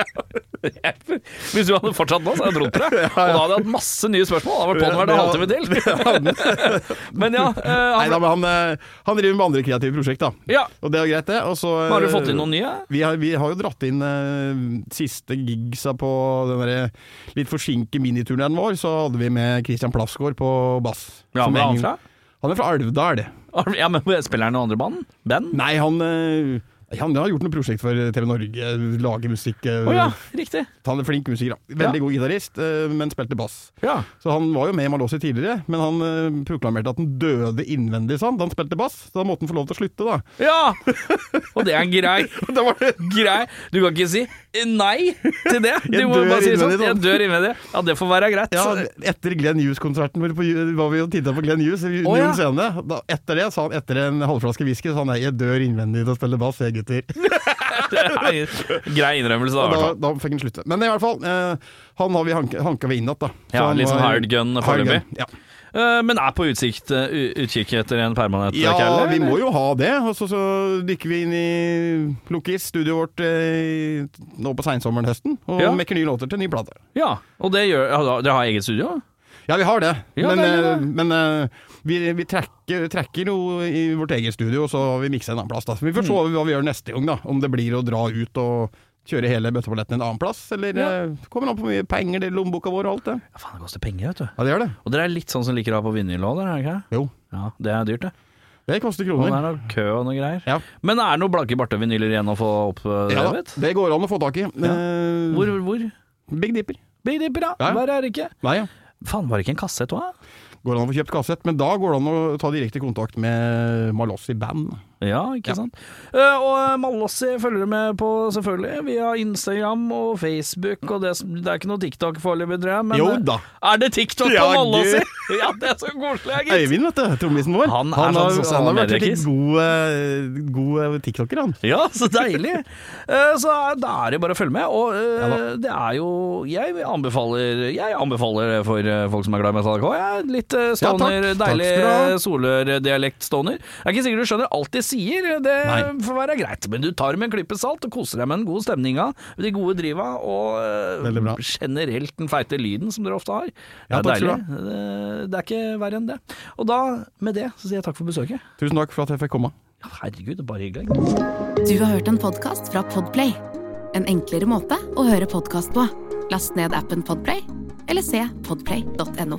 S2: Hvis du hadde fortsatt nå, så hadde jeg trodd på
S3: [LAUGHS]
S2: deg. Og da hadde jeg hatt masse nye spørsmål. Da var det på hver en halvtime til. Men ja, eh,
S3: [LAUGHS] [LAUGHS] Nei, da,
S2: han,
S3: men han, øh, han driver med andre kreative prosjekt, da.
S2: ja.
S3: Og det er greit, det. Og så øh,
S2: Har du fått inn noen nye?
S3: Vi har, vi har jo dratt inn øh, siste gigsa på den der litt forsinke miniturneen vår. Så hadde vi med Christian Plasgaard på bass.
S2: Ja,
S3: Som
S2: men er han
S3: heng-
S2: fra?
S3: Han er fra Alvdal.
S2: Ja, men Spiller han i noen andre band? Band?
S3: Nei, han øh, Han har gjort noe prosjekt for eh, TV Norge, lager musikk. eh,
S2: Å ja, riktig.
S3: Han er flink musiker, da. Veldig god gitarist, eh, men spilte bass.
S2: Ja.
S3: Så han var jo med i Malossi tidligere, men han eh, proklamerte at han døde innvendig, sa han, da han spilte bass. Så da måtte han få lov til å slutte, da.
S2: Ja! Og det er grei.
S3: [LAUGHS] Da var det
S2: Grei. Du kan ikke si eh, nei til det. Du
S3: Jeg
S2: må
S3: dør
S2: bare si sånn.
S3: innvendig, sånn.
S2: Jeg dør innvendig. Ja, det får være greit.
S3: ja,
S2: [LAUGHS]
S3: etter Glenn Hughes-konserten hvor på, var vi og titta på Glenn Hughes. i
S2: Å, ja.
S3: noen scene. Da, etter det sa han etter en halvflaske whisky sa han nei, jeg dør innvendig til å spille bass,
S2: [LAUGHS]
S3: jeg gutter.
S2: Nei, Grei innrømmelse, da. i
S3: Og
S2: hvert
S3: da,
S2: fall.
S3: da fikk han slutte. Men i hvert fall, eh, han har vi hanka, hanka vi inn igjen, da. Så
S2: Ja,
S3: han
S2: litt sånn
S3: var-
S2: hard gun
S3: hard gun,
S2: foreløpig.
S3: Ja.
S2: Eh, Men er på utsikt, eh, u- utkikk etter en permanent eh,
S3: ja,
S2: kærle,
S3: vi
S2: eller?
S3: må jo ha det. Og så, så dykker vi inn i Lokis, studioet vårt, eh, nå på seinsommeren høsten, og
S2: Ja.
S3: mekker nye låter til ny plate.
S2: Ja, og det gjør ja, da- Dere har eget studio?
S3: Ja, vi har det.
S2: Ja,
S3: men
S2: deilig,
S3: eh, men eh, vi, vi tracker, tracker jo i vårt eget studio, og så har vi miksa en annen plass. Da. Så vi
S2: Mm.
S3: får se hva vi gjør neste gang, da. Om det blir å dra ut og kjøre hele bøtteballetten en annen plass, eller
S2: Ja.
S3: eh, kommer an på hvor mye penger det er i lommeboka vår og alt det.
S2: Ja, faen, det koster penger, vet du.
S3: Ja, det gjør det.
S2: Og dere er litt sånn som liker å ha på vinyl òg, dere? er dere ikke? det?
S3: Jo.
S2: Ja, det er dyrt, det.
S3: Det koster
S2: Og det
S3: kroner.
S2: er noe kø og noe greier.
S3: Ja.
S2: Men er det noen blanke bartevinyler igjen å få
S3: Ja,
S2: oppdrevet?
S3: det går an å få tak i. Eh,
S2: hvor, hvor?
S3: Big Dipper.
S2: Big Dipper, ja.
S3: Ja.
S2: Hver er det ikke.
S3: Nei, ja.
S2: Faen, var det ikke en kassett òg?
S3: Går an å få kjøpt kassett, men da går det an å ta direkte kontakt med Malossi Band.
S2: Ja, ikke sant. Eh, og Malossi følger du med på, selvfølgelig, via Instagram og Facebook og det som Det er ikke noe TikTok foreløpig, tror jeg, men eh,
S3: Jo da.
S2: Er det TikTok på
S3: Ja,
S2: Malossi? [LAUGHS] ja, det er så koselig, jeg, gitt.
S3: Øyvind, vet du, trommisen vår.
S2: Han er
S3: har,
S2: sånn sosiale
S3: han har vært en
S2: medier-kiss.
S3: god, eh, god eh, tiktoker, han.
S2: Ja, så
S3: [LAUGHS]
S2: deilig. Eh, så er- da er det bare å følge med. Og eh, det er jo Jeg anbefaler Jeg anbefaler for eh, folk som er glad i metallic òg. Jeg er litt eh,
S3: Ja, takk.
S2: stoner,
S3: Takk
S2: deilig
S3: skal du ha.
S2: eh, solør-dialekt-stoner. Det er ikke sikkert du skjønner alt de sier, det
S3: Nei.
S2: får være greit. Men du tar det med en klype salt og koser deg med den gode stemninga, de gode driva og eh,
S3: Veldig bra.
S2: generelt den feite lyden som dere ofte har. Det
S3: Ja,
S2: er
S3: takk skal
S2: deilig. Eh,
S3: du
S2: Det er ikke verre enn det. Og da, med det, så sier jeg takk for besøket.
S3: Tusen takk for at jeg fikk komme.
S2: Ja, Herregud, det er bare hyggelig.
S1: Du har hørt en podcast fra Podplay. En enklere måte å høre podcast på. Last ned appen Podplay, eller se podplay.no.